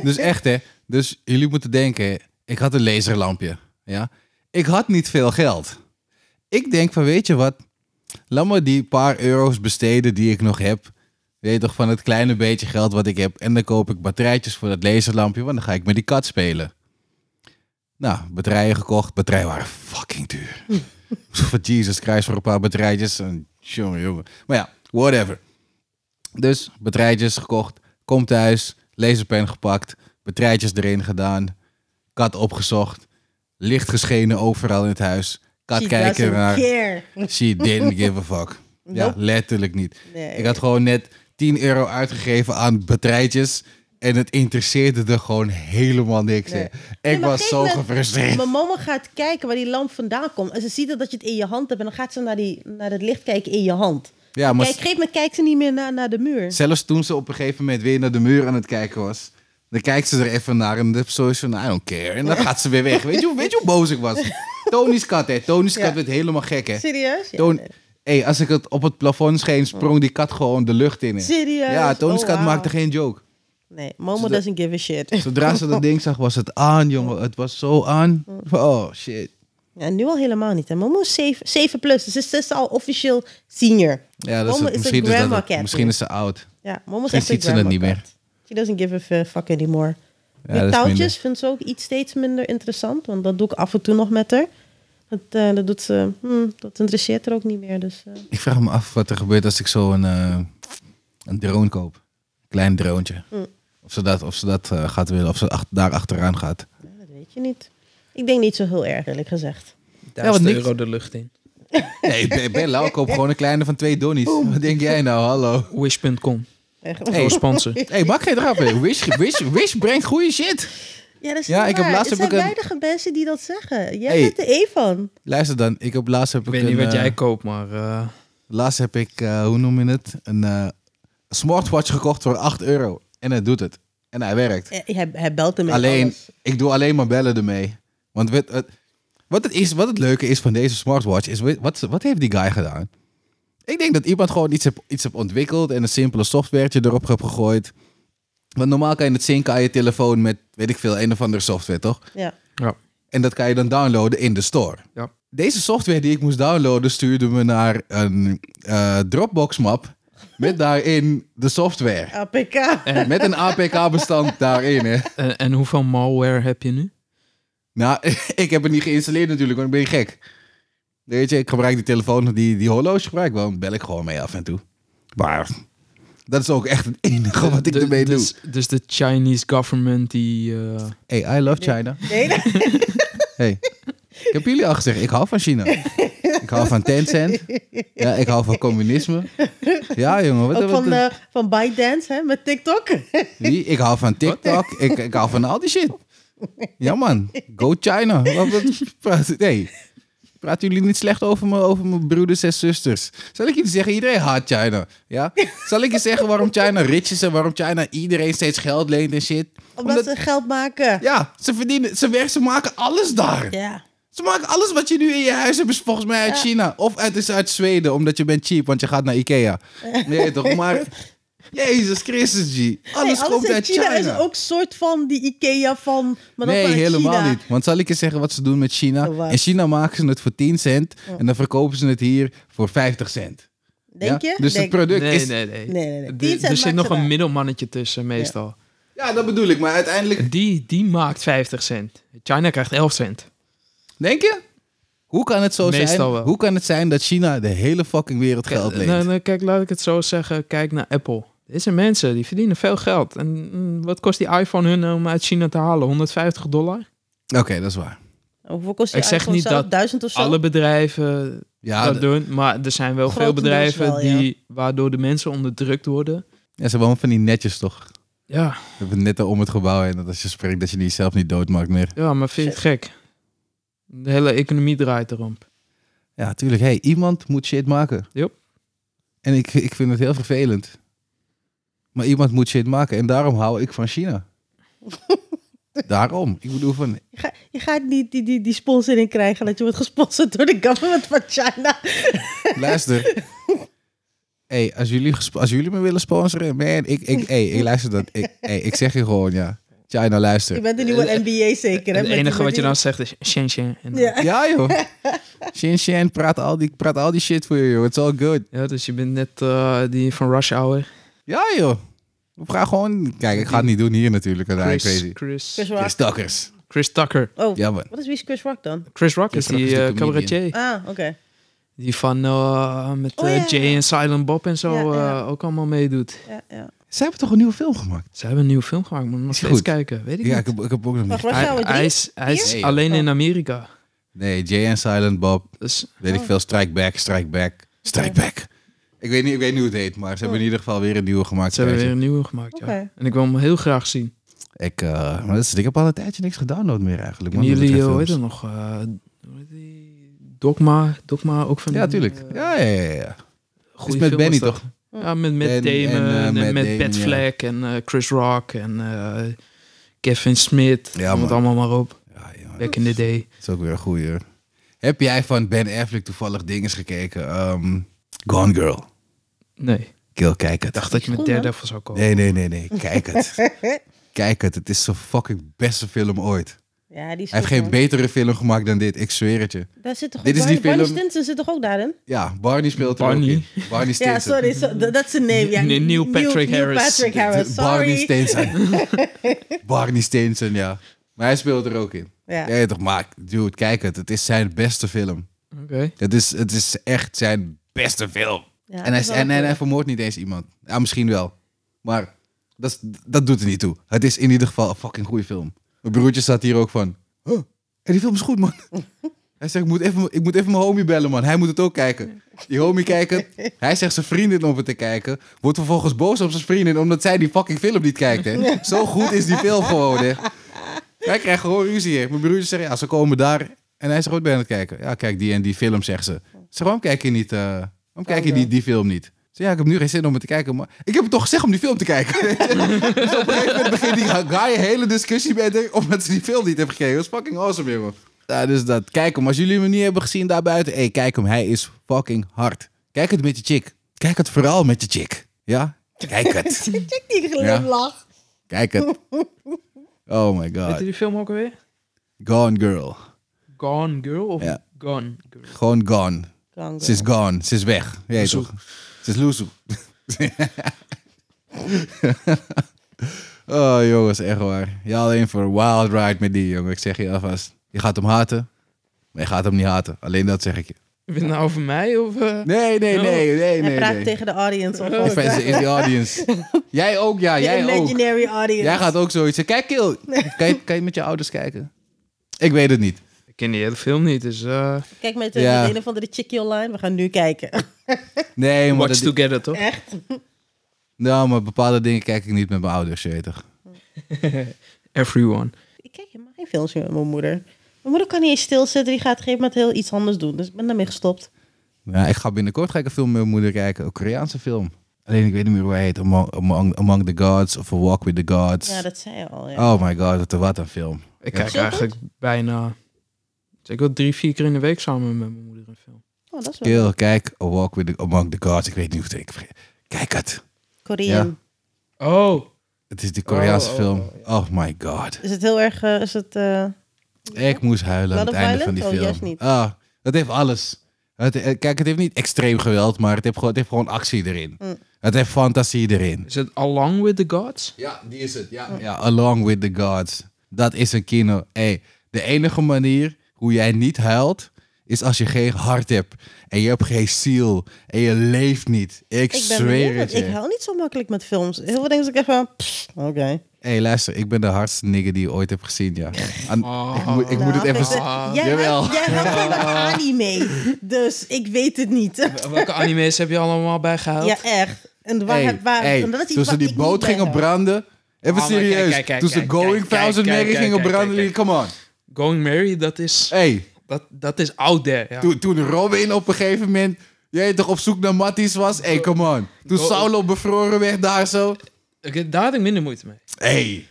Dus echt, hè. Dus jullie moeten denken, ik had een laserlampje. Ja? Ik had niet veel geld. Ik denk van, weet je wat? Laat maar die paar euro's besteden die ik nog heb. Weet je toch, van het kleine beetje geld wat ik heb. En dan koop ik batterijtjes voor dat laserlampje, want dan ga ik met die kat spelen. Nou, batterijen gekocht. Batterijen waren fucking duur. [laughs] Voor Jesus Christ, voor een paar batterijtjes. En, jongen, jongen. Maar ja, whatever. Dus batterijtjes gekocht, kom thuis, laserpen gepakt, batterijtjes erin gedaan, kat opgezocht, licht geschenen overal in het huis. Kat
She
kijken
doesn't
naar.
care.
She didn't give a fuck. Ja,
Nope.
letterlijk niet.
Nee.
Ik had gewoon net 10 euro uitgegeven aan batterijtjes. En het interesseerde er gewoon helemaal niks in. Ik
Nee, maar
was
kijk
zo
met-
gefrustreerd.
Mijn mama gaat kijken waar die lamp vandaan komt. En ze ziet dat dat je het in je hand hebt. En dan gaat ze naar, die, naar het licht kijken in je hand.
Ja, maar
Kijk, op een gegeven moment kijkt ze niet meer naar, naar de muur.
zelfs toen ze op een gegeven moment weer naar de muur aan het kijken was. Dan kijkt ze er even naar en dan zoiets van, I don't care. En dan gaat ze weer weg. Weet je, hoe- weet je hoe boos ik was? Tony's kat, hè. Tony's kat
Ja.
werd helemaal gek, hè.
Serieus? Ja,
Toon,
nee.
hey, als ik het op het plafond scheen, sprong die kat gewoon de lucht in. hè.
Serieus?
Ja, Tony's
Oh,
kat
wauw.
maakte geen joke.
Nee, Momo
Zodat-
doesn't give a shit.
Zodra ze dat ding zag, was het aan, jongen. Het was zo aan. Oh, shit.
Ja, nu al helemaal niet. Hè. Momo is 7, 7 plus. Dus ze is al officieel senior.
Ja, dat is
Mama
het.
is
Misschien,
een
is, dat
grandma
het.
cat
misschien
nu.
is ze oud.
Ja, mama is
Misschien
echt een
ziet ze dat niet
grandma cat. She doesn't give a f- fuck anymore.
Ja,
Met
dat is
touwtjes vindt ze ook iets steeds minder interessant. Want dat doe ik af en toe nog met haar. Dat, eh, dat doet ze... hmm, dat interesseert haar ook niet meer. Dus, eh.
Ik vraag me af wat er gebeurt als ik zo een, eh, een drone koop. Klein droontje.
Mm.
Of ze dat, of ze dat eh, gaat willen, of ze ach- daar achteraan gaat.
Ja, dat weet je niet. Ik denk niet zo heel erg, eerlijk gezegd.
want
Duizend
niks-
euro de lucht in.
Nee, ben, ben lauw, koop gewoon een kleine van twee donnies. Wat denk jij nou, hallo?
Wish.com.
Echt.
Hey. sponsor.
[laughs] hey, maak geen grappen. Wish, wish, wish brengt goede shit.
Ja, dat is
Ja,
niet
ik heb
waar.
laatst
Er
heb
zijn
ik een-
weinig mensen die dat zeggen. Jij
Hey.
bent er één van.
Luister dan, ik heb laatst heb
Ik
ik
weet niet
een,
wat
eh,
jij koopt, maar... eh,
Laatst heb ik, eh, hoe noem je het? Een eh, smartwatch gekocht voor 8 euro. En hij doet het. En hij werkt.
Eh, Hij, hij belt hem in
Alleen,
alles.
ik doe alleen maar bellen ermee. Want weet- het- wat, het is, wat het leuke is van deze smartwatch is, weet- wat, wat heeft die guy gedaan? Ik denk dat iemand gewoon iets heeft iets heb ontwikkeld en een simpele softwaretje erop heeft gegooid. Want normaal kan je het zinken aan je telefoon met, weet ik veel, een of andere software, toch?
Ja.
ja.
En dat kan je dan downloaden in de store.
Ja.
Deze software die ik moest downloaden stuurde me naar een eh, Dropbox-map met daarin de software.
APK.
Met een APK-bestand daarin. Hè.
En, en hoeveel malware heb je nu?
Nou, [laughs] ik heb het niet geïnstalleerd natuurlijk, want ik ben gek. Weet je, ik gebruik die telefoon, die, die horloge gebruik ik wel, dan bel ik gewoon mee af en toe. Maar dat is ook echt het enige wat ik
De-
ermee doe.
dus, Dus de Chinese government die... eh,
Hey, I love China.
Nee, nee.
Hey, ik heb jullie al gezegd, ik hou van China. Ik hou van Tencent. Ja, ik hou van communisme. Ja, jongen. Wat,
Ook
wat-
van, eh van ByteDance, hè, met TikTok. [laughs]
wie? Ik hou van TikTok. Ik, ik hou van al die shit. Ja, man. Go China. Wat, wat, praat, nee. Praten jullie niet slecht over, me, over mijn broeders en zusters? Zal ik jullie zeggen, iedereen haat China. Ja? Zal ik je zeggen waarom China rich is en waarom China iedereen steeds geld leent en shit?
Omdat ze geld maken.
Ja, ze verdienen, ze werken, ze maken alles daar.
Ja.
Ze maken alles wat je nu in je huis hebt, is volgens mij uit China. Of het is uit Zweden, omdat je bent cheap, want je gaat naar
[laughs]
Ikea. Nee, toch? Maar, Jezus Christus, G.
Nee,
Alles komt
in
uit
China,
China.
is ook soort van die Ikea van... Maar dan
nee,
vanuit
helemaal
China.
niet. Want zal ik je zeggen wat ze doen met China?
Oh, wat?
in China maken ze het voor 10 cent en dan verkopen ze het hier voor 50 cent.
Denk
Ja?
je?
Dus het
Denk-
product
nee,
is...
nee, nee,
Nee, nee, nee.
De-
10 cent
er zit
maakt
nog
ze
een
daar.
middelmannetje tussen meestal.
Ja, dat bedoel ik. Maar uiteindelijk...
Die, die maakt 50 cent. China krijgt 11 cent.
Denk je? Hoe kan het zo
Meestal
zijn?
wel.
Hoe kan het zijn dat China de hele fucking wereld geld leent?
Nou, nou, kijk, laat ik het zo zeggen. Kijk naar Apple. Dit zijn mensen, die verdienen veel geld. En mm, wat kost die iPhone hun om uit China te halen? 150 dollar?
Oké, dat is waar.
Oh, Hoeveel kost je
Ik zeg niet dat
duizend of zo?
Alle bedrijven
Ja,
dat
d-
doen, maar er zijn wel veel
Grotendeels
bedrijven
wel, ja.
die, waardoor de mensen onderdrukt worden.
ja, ze wonen van die netjes toch?
Ja,
We hebben netten om het gebouw heen. Dat als je spreekt, dat je die zelf niet doodmaakt meer.
ja maar vind je het gek? De hele economie draait erom.
Ja, tuurlijk. Hey, iemand moet shit maken.
Yup.
En ik, ik vind het heel vervelend. Maar iemand moet shit maken. En daarom hou ik van China. daarom. Ik bedoel van...
Je, ga- je gaat niet die, die, die sponsoring krijgen dat je wordt gesponsord door de government van China.
Luister. hey, als jullie, gesp- als jullie me willen sponsoren... Man, ik, ik, hey, ik luister dat. Ik, hey, ik zeg je gewoon, ja. China,
Je
luister.
bent de nieuwe NBA zeker, hè?
het
met die-
enige
met
wat je
die-
dan zegt is Shenzhen. En dan-
Ja.
Ja, joh. Shin Shin, praat al die, praat al die shit voor je, joh. It's all good.
Ja, dus je bent net eh, die van Rush Hour.
Ja, joh. We gaan gewoon... Kijk, ik ga het niet doen hier natuurlijk. want hij is
Chris,
crazy.
Chris
Chris,
Rock.
Je stalkers.
Chris Tucker.
Oh,
Ja, man.
wat is wie is Chris Rock dan?
Chris Rock
Chris
is
Rock
die
is de
eh,
comedian.
cabaretier.
Ah, oké.
Die van eh, met
Oh,
eh,
ja,
Jay
ja.
en Silent Bob en zo
Ja, ja.
eh, ook allemaal meedoet.
Ja, ja.
Ze hebben toch een nieuwe film gemaakt?
Ze hebben een nieuwe film gemaakt, moet ik nog
Is
steeds
goed.
kijken. Weet ik
Ja, ik
niet.
heb, ik heb ook nog
Wacht,
niet.
Rush
Ah,
Hij,
Hour
hij
3?
is, hij is
Hier?
alleen
Oh.
in Amerika.
Nee, Jay en Silent Bob,
Dus
weet ik veel. Strike Back, Strike Back, Strike Back. Ik weet, niet, ik weet niet hoe het heet, maar ze hebben in ieder geval weer een nieuwe gemaakt.
ze hebben weer
tijdje.
een nieuwe gemaakt. Ja.
Oké.
En ik wil hem heel graag zien.
Ik, eh, maar dat is, ik heb al een tijdje niks gedownload meer eigenlijk.
En
man, wat
jullie,
betreft
eh, hoe heet
films.
het nog? eh, hoe heet die? Dogma, Dogma ook van
Ja, tuurlijk.
eh,
Ja, ja, ja. ja.
goede
Het is met
film
Benny
was dat.
toch?
Ja, met met
En-
Damon
en, eh,
en,
Matt
met
Damon,
Pat
ja.
Fleck en eh, Chris Rock en eh, Kevin Smith.
Ja,
Noem het
man.
allemaal maar op.
Ja, ja.
Back in the day.
Dat is ook weer een goeie. hoor. Heb jij van Ben Affleck toevallig dingen gekeken? Ehm, Gone Girl.
Nee, ik
Kill, kijk het.
dacht dat je met
Goed, man.
Daredevil zou
Oh.
komen.
Nee, nee, nee, nee. Kijk het.
[laughs]
kijk het. Het is zo'n fucking beste film ooit.
Ja, die is
Hij
goed,
heeft geen
man.
betere film gemaakt dan dit, ik zweer het je.
Daar zit toch
Dit
ook
is
Barney,
die
Barney
film-
Stinson zit toch ook daarin?
Ja, Barney speelt er ook
Barney.
in. Barney Stinson.
Ja, sorry, so, that- that's the name. Ja,
Nee, Neil Patrick
Neil
Harris.
Patrick Harris,
Barney
sorry.
Stinson.
[laughs]
Barney Stinson, ja. Maar hij speelt er ook in.
Ja.
Ja, toch, maar dude, kijk het. Het is zijn beste film.
Oké.
Het is, het is echt zijn beste film.
Ja,
en, hij,
dat
is-
is wel
en, en
goed.
hij vermoordt niet eens iemand. Ja, misschien wel. Maar dat, is- dat doet er niet toe. Het is in ieder geval een fucking goede film. Mijn broertje staat hier ook van. Huh, en die film is
[laughs]
goed, man. hij zegt, ik moet, even, ik moet even mijn homie bellen, man. Hij moet het ook kijken. Die homie kijkt het. Hij zegt zijn vriendin om het te kijken. Wordt vervolgens boos op zijn vriendin omdat zij die fucking film niet kijkt.
[laughs]
Hè. Zo goed is die film gewoon, hè. Wij krijgen gewoon ruzie, hè. Mijn broertje zegt, ja, ze komen daar. En hij is goed bij aan het kijken. Ja, kijk, die en die film, zegt ze. Ze zegt, waarom kijk je niet, eh, waarom kijk je die, die film niet? Ze ja, ik heb nu geen zin om het te kijken, maar ik heb het toch gezegd om die film te kijken. [laughs] dus op een gegeven moment begint die guy een hele discussie met haar, omdat ze die film niet heeft gekeken. Dat is fucking awesome, jongen. Ja, dus dat, kijk hem. Als jullie hem niet hebben gezien daarbuiten, hey, kijk hem. Hij is fucking hard. Kijk het met je chick. Kijk het vooral met je chick. Ja? Kijk het.
Kijk die glimlach.
Kijk het. Oh my
Weet
god.
je die film ook alweer?
Gone girl.
Gone Girl of
Ja.
Gone Girl?
Gewoon gone.
Kanker.
Ze is gone. Ze is weg. Je weet toch? Ze is loezoe. [laughs] oh, jongens, echt waar. Ja, alleen voor een wild ride met die jongen. Ik zeg je alvast. Je gaat hem haten, maar je gaat hem niet haten. Alleen dat zeg ik je.
Heb je het nou over mij? Of, eh?
Nee, nee, nee, nee,
Oh. Hij
nee.
praat
nee.
tegen de audience. Of of-
Offense is the
[laughs]
audience. Jij ook, ja.
de
Jij ook.
imaginary audience.
Jij gaat ook zoiets zeggen. Kijk, Kil. Kan je, kan je met je ouders kijken? Ik weet het niet.
Ik ken die hele film niet, dus... eh
Kijk met de,
Ja.
met een of andere chickie online. We gaan nu
[laughs]
kijken.
Nee, maar,
Watch
dat,
Together, toch?
Echt?
nou, maar bepaalde dingen kijk ik niet met mijn ouders, je weet toch.
Everyone.
Ik kijk helemaal geen films meer met mijn moeder. Mijn moeder kan niet eens stilzitten. Die gaat op een gegeven moment heel iets anders doen. Dus ik ben daarmee gestopt.
Ja, ik ga binnenkort ga ik een film met mijn moeder kijken. Een Koreaanse film. Alleen ik weet niet meer hoe hij heet. Among, Among, Among the Gods of A Walk with the Gods.
Ja, dat zei je al. Ja.
Oh my god, wat een- wat een film.
Ik
Ja.
kijk eigenlijk bijna... Dus ik wil drie, vier keer in de week samen met mijn moeder een film.
Oh, dat is wel.
Kill, kijk. A Walk with the, Among the Gods. Ik weet niet hoe het heet. Ik- Kijk het.
Korean.
Oh!
Het is die Koreaanse
Oh, oh,
film. Oh my god.
Is het heel erg... eh, is het, eh,
Ik moest huilen aan
Blood
het
of
einde
Violence?
van die
Oh,
film.
juist niet.
Ah, dat heeft alles. Het, eh, kijk, het heeft niet extreem geweld, maar het heeft gewoon, het heeft gewoon actie erin.
Mm.
Het heeft fantasie erin.
Is het Along with the Gods?
Ja, die is het. Ja, ja Along with the Gods. Dat is een kino. Hey, de enige manier hoe jij niet huilt, is als je geen hart hebt en je hebt geen ziel en je leeft niet. Ik,
Ik ben
zweer
benieuwd,
het
want
je.
ik hou niet zo makkelijk met films. Heel veel dingen zeg ik echt van, pff, oké.
Hé, hey, luister, ik ben de hardste nigger die je ooit hebt gezien, ja. Aan-
Oh.
ik moet, ik
Nou,
moet het even...
weet je,
z-
Jij
jawel.
houdt- jij houdt van de anime, dus ik weet het niet.
Welke anime's heb je allemaal bijgehaald?
Ja, echt. En waar,
Hey,
waar,
hey,
en dat is iets
toen ze
waar
die
ik
boot
niet bij
gingen
ben.
branden... Even
Oh, maar kijk,
serieus.
kijk, kijk,
toen ze
kijk,
Going
kijk,
Thousand
kijk,
Mary
kijk,
gingen
kijk,
branden,
kijk.
come on.
Going Mary, dat is,
Hey,
dat, dat is out there. Ja.
toen, toen Robin op een gegeven moment... Jij toch op zoek naar Matties was? Hey, come on. Toen
Go-
Saulo bevroren werd daar zo.
Ik- daar had ik minder moeite mee.
Hey,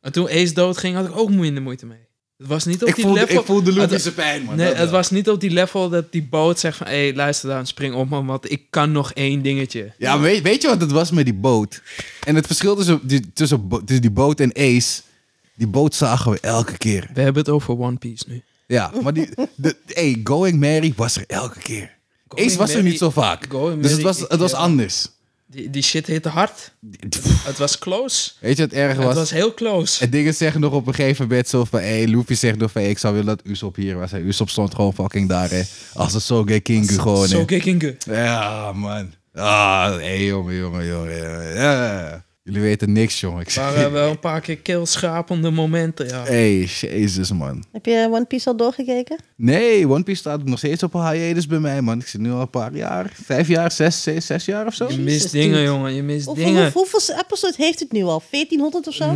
En toen Ace doodging, had ik ook minder moeite mee. Het was niet op
ik
die
voelde,
level...
ik voelde
het-
Luffy's pijn, man.
Nee,
Dat
het
wel.
was niet op die level dat die boot zegt van... Hé, hey, luister dan, spring op man, want ik kan nog één dingetje.
Ja, maar weet, weet je wat het was met die boot? En het verschil tussen, die- tussen, bo- tussen die boot en Ace... Die boot zagen we elke keer.
We hebben het over One Piece nu.
Ja, maar die... De, hey, Going Mary was er elke keer.
Going
Ace was er
Mary-
niet zo vaak.
Going
Dus het
Mary,
was,
ik-
het was
ja.
anders.
Die, die shit heette
[laughs]
hard.
Pff,
Het was close.
Weet je wat erg
Het
was?
was heel close.
En dingen zeggen nog op een gegeven moment zo van... Hey, Luffy zegt nog van... hey, ik zou willen dat Usopp hier was. En Usopp stond gewoon fucking daar, hè. Als een Soge Kingu gewoon, hè.
Zo Kingu.
[laughs] Ja, man. Ah, hey, jongen, jongen, jongen. jongen. Ja. Jullie weten niks, jongen. Ik zeg...
waren wel een paar keer keelschapende momenten, ja.
Hey, jezus, man.
Heb je One Piece al doorgekeken?
Nee, One Piece staat nog steeds op een hiatus bij mij, man. Ik zit nu al een paar jaar. Vijf jaar, zes, zes, zes jaar of zo.
Je
Jezus,
mist dingen,
dude.
jongen. Je mist
Hoeveel,
dingen.
hoeveel, hoeveel episodes heeft het nu al? 1400 of zo?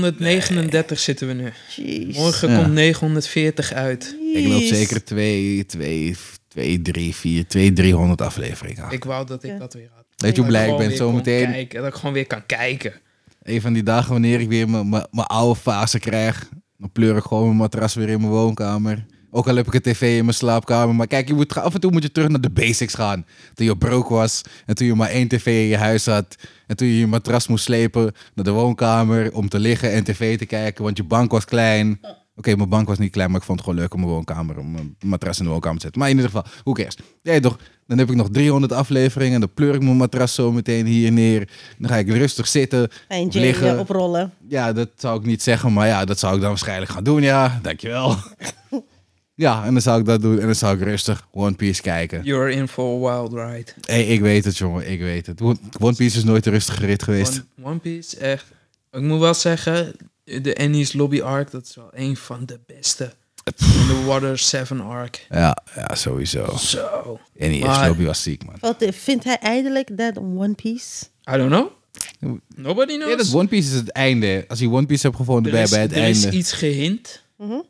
939 zitten we nu.
Jeez.
Morgen
Ja.
komt 940 uit.
Ik loop
Jeez.
zeker twee, twee, twee, drie, vier, twee, driehonderd afleveringen.
Ik wou dat ik
Ja.
dat weer had.
Weet je hoe blij ik
gewoon
ben?
weer kon
Zometeen,
kijken, dat ik gewoon weer kan kijken.
een van die dagen wanneer ik weer mijn- mijn mijn oude fase krijg, dan pleur ik gewoon mijn matras weer in mijn woonkamer. Ook al heb ik een tv in mijn slaapkamer. Maar kijk, je moet, af en toe moet je terug naar de basics gaan. Toen je broke was en toen je maar één tv in je huis had. En toen je je matras moest slepen naar de woonkamer om te liggen en tv te kijken. Want je bank was klein. Oké, mijn bank was niet klein, maar ik vond het gewoon leuk om mijn woonkamer, om mijn matras in de woonkamer te zetten. Maar in ieder geval, hoe cares? Ja, toch, dan heb ik nog 300 afleveringen en dan pleur ik mijn matras zo meteen hier neer. Dan ga ik rustig zitten.
En
of
Jay
liggen.
eh, oprollen.
Ja, dat zou ik niet zeggen, maar ja, dat zou ik dan waarschijnlijk gaan doen, ja.
[laughs]
Dankjewel. ja, en dan zou ik dat doen en dan zou ik rustig One Piece kijken.
You're in for a wild ride.
hey, ik weet het, jongen, ik weet het. One One Piece is nooit een rustige rit geweest.
One, One Piece, echt. Ik moet wel zeggen, de Annie's Lobby Arc, dat is wel een van de beste. En de Water 7 Arc.
Ja, ja, sowieso.
Zo.
En die
Maar-
eerste lobby was ziek, man.
Wat eh, vindt hij eindelijk dat One Piece?
I don't know. Nobody knows.
Ja, dat One Piece is het einde. Als je One Piece hebt gevonden,
er
bij,
is,
bij het
er
einde.
is iets gehint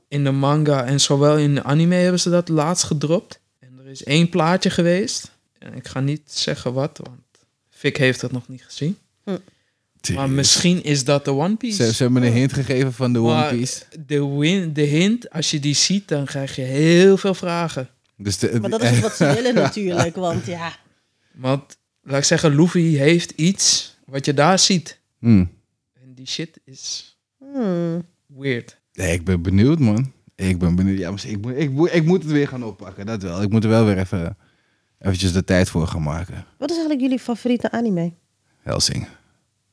in de manga en zowel in de anime hebben ze dat laatst gedropt. En er is één plaatje geweest. En ik ga niet zeggen wat, want Vic heeft dat nog niet gezien. Maar misschien is dat de One Piece.
Ze, ze hebben me een hint gegeven van de One
Maar
Piece.
De, win, de hint, als je die ziet, dan krijg je heel veel vragen.
Dus de,
Maar dat is ook wat ze
[laughs]
willen natuurlijk, want ja.
Want, laat ik zeggen, Luffy heeft iets wat je daar ziet.
Hmm.
En die shit is
Hmm.
weird.
Nee, ik ben benieuwd, man. Ik ben benieuwd. Ja, maar ik, moet- ik, moet- ik moet het weer gaan oppakken, dat wel. Ik moet er wel weer even eventjes de tijd voor gaan maken.
Wat is eigenlijk jullie favoriete anime?
Helsing.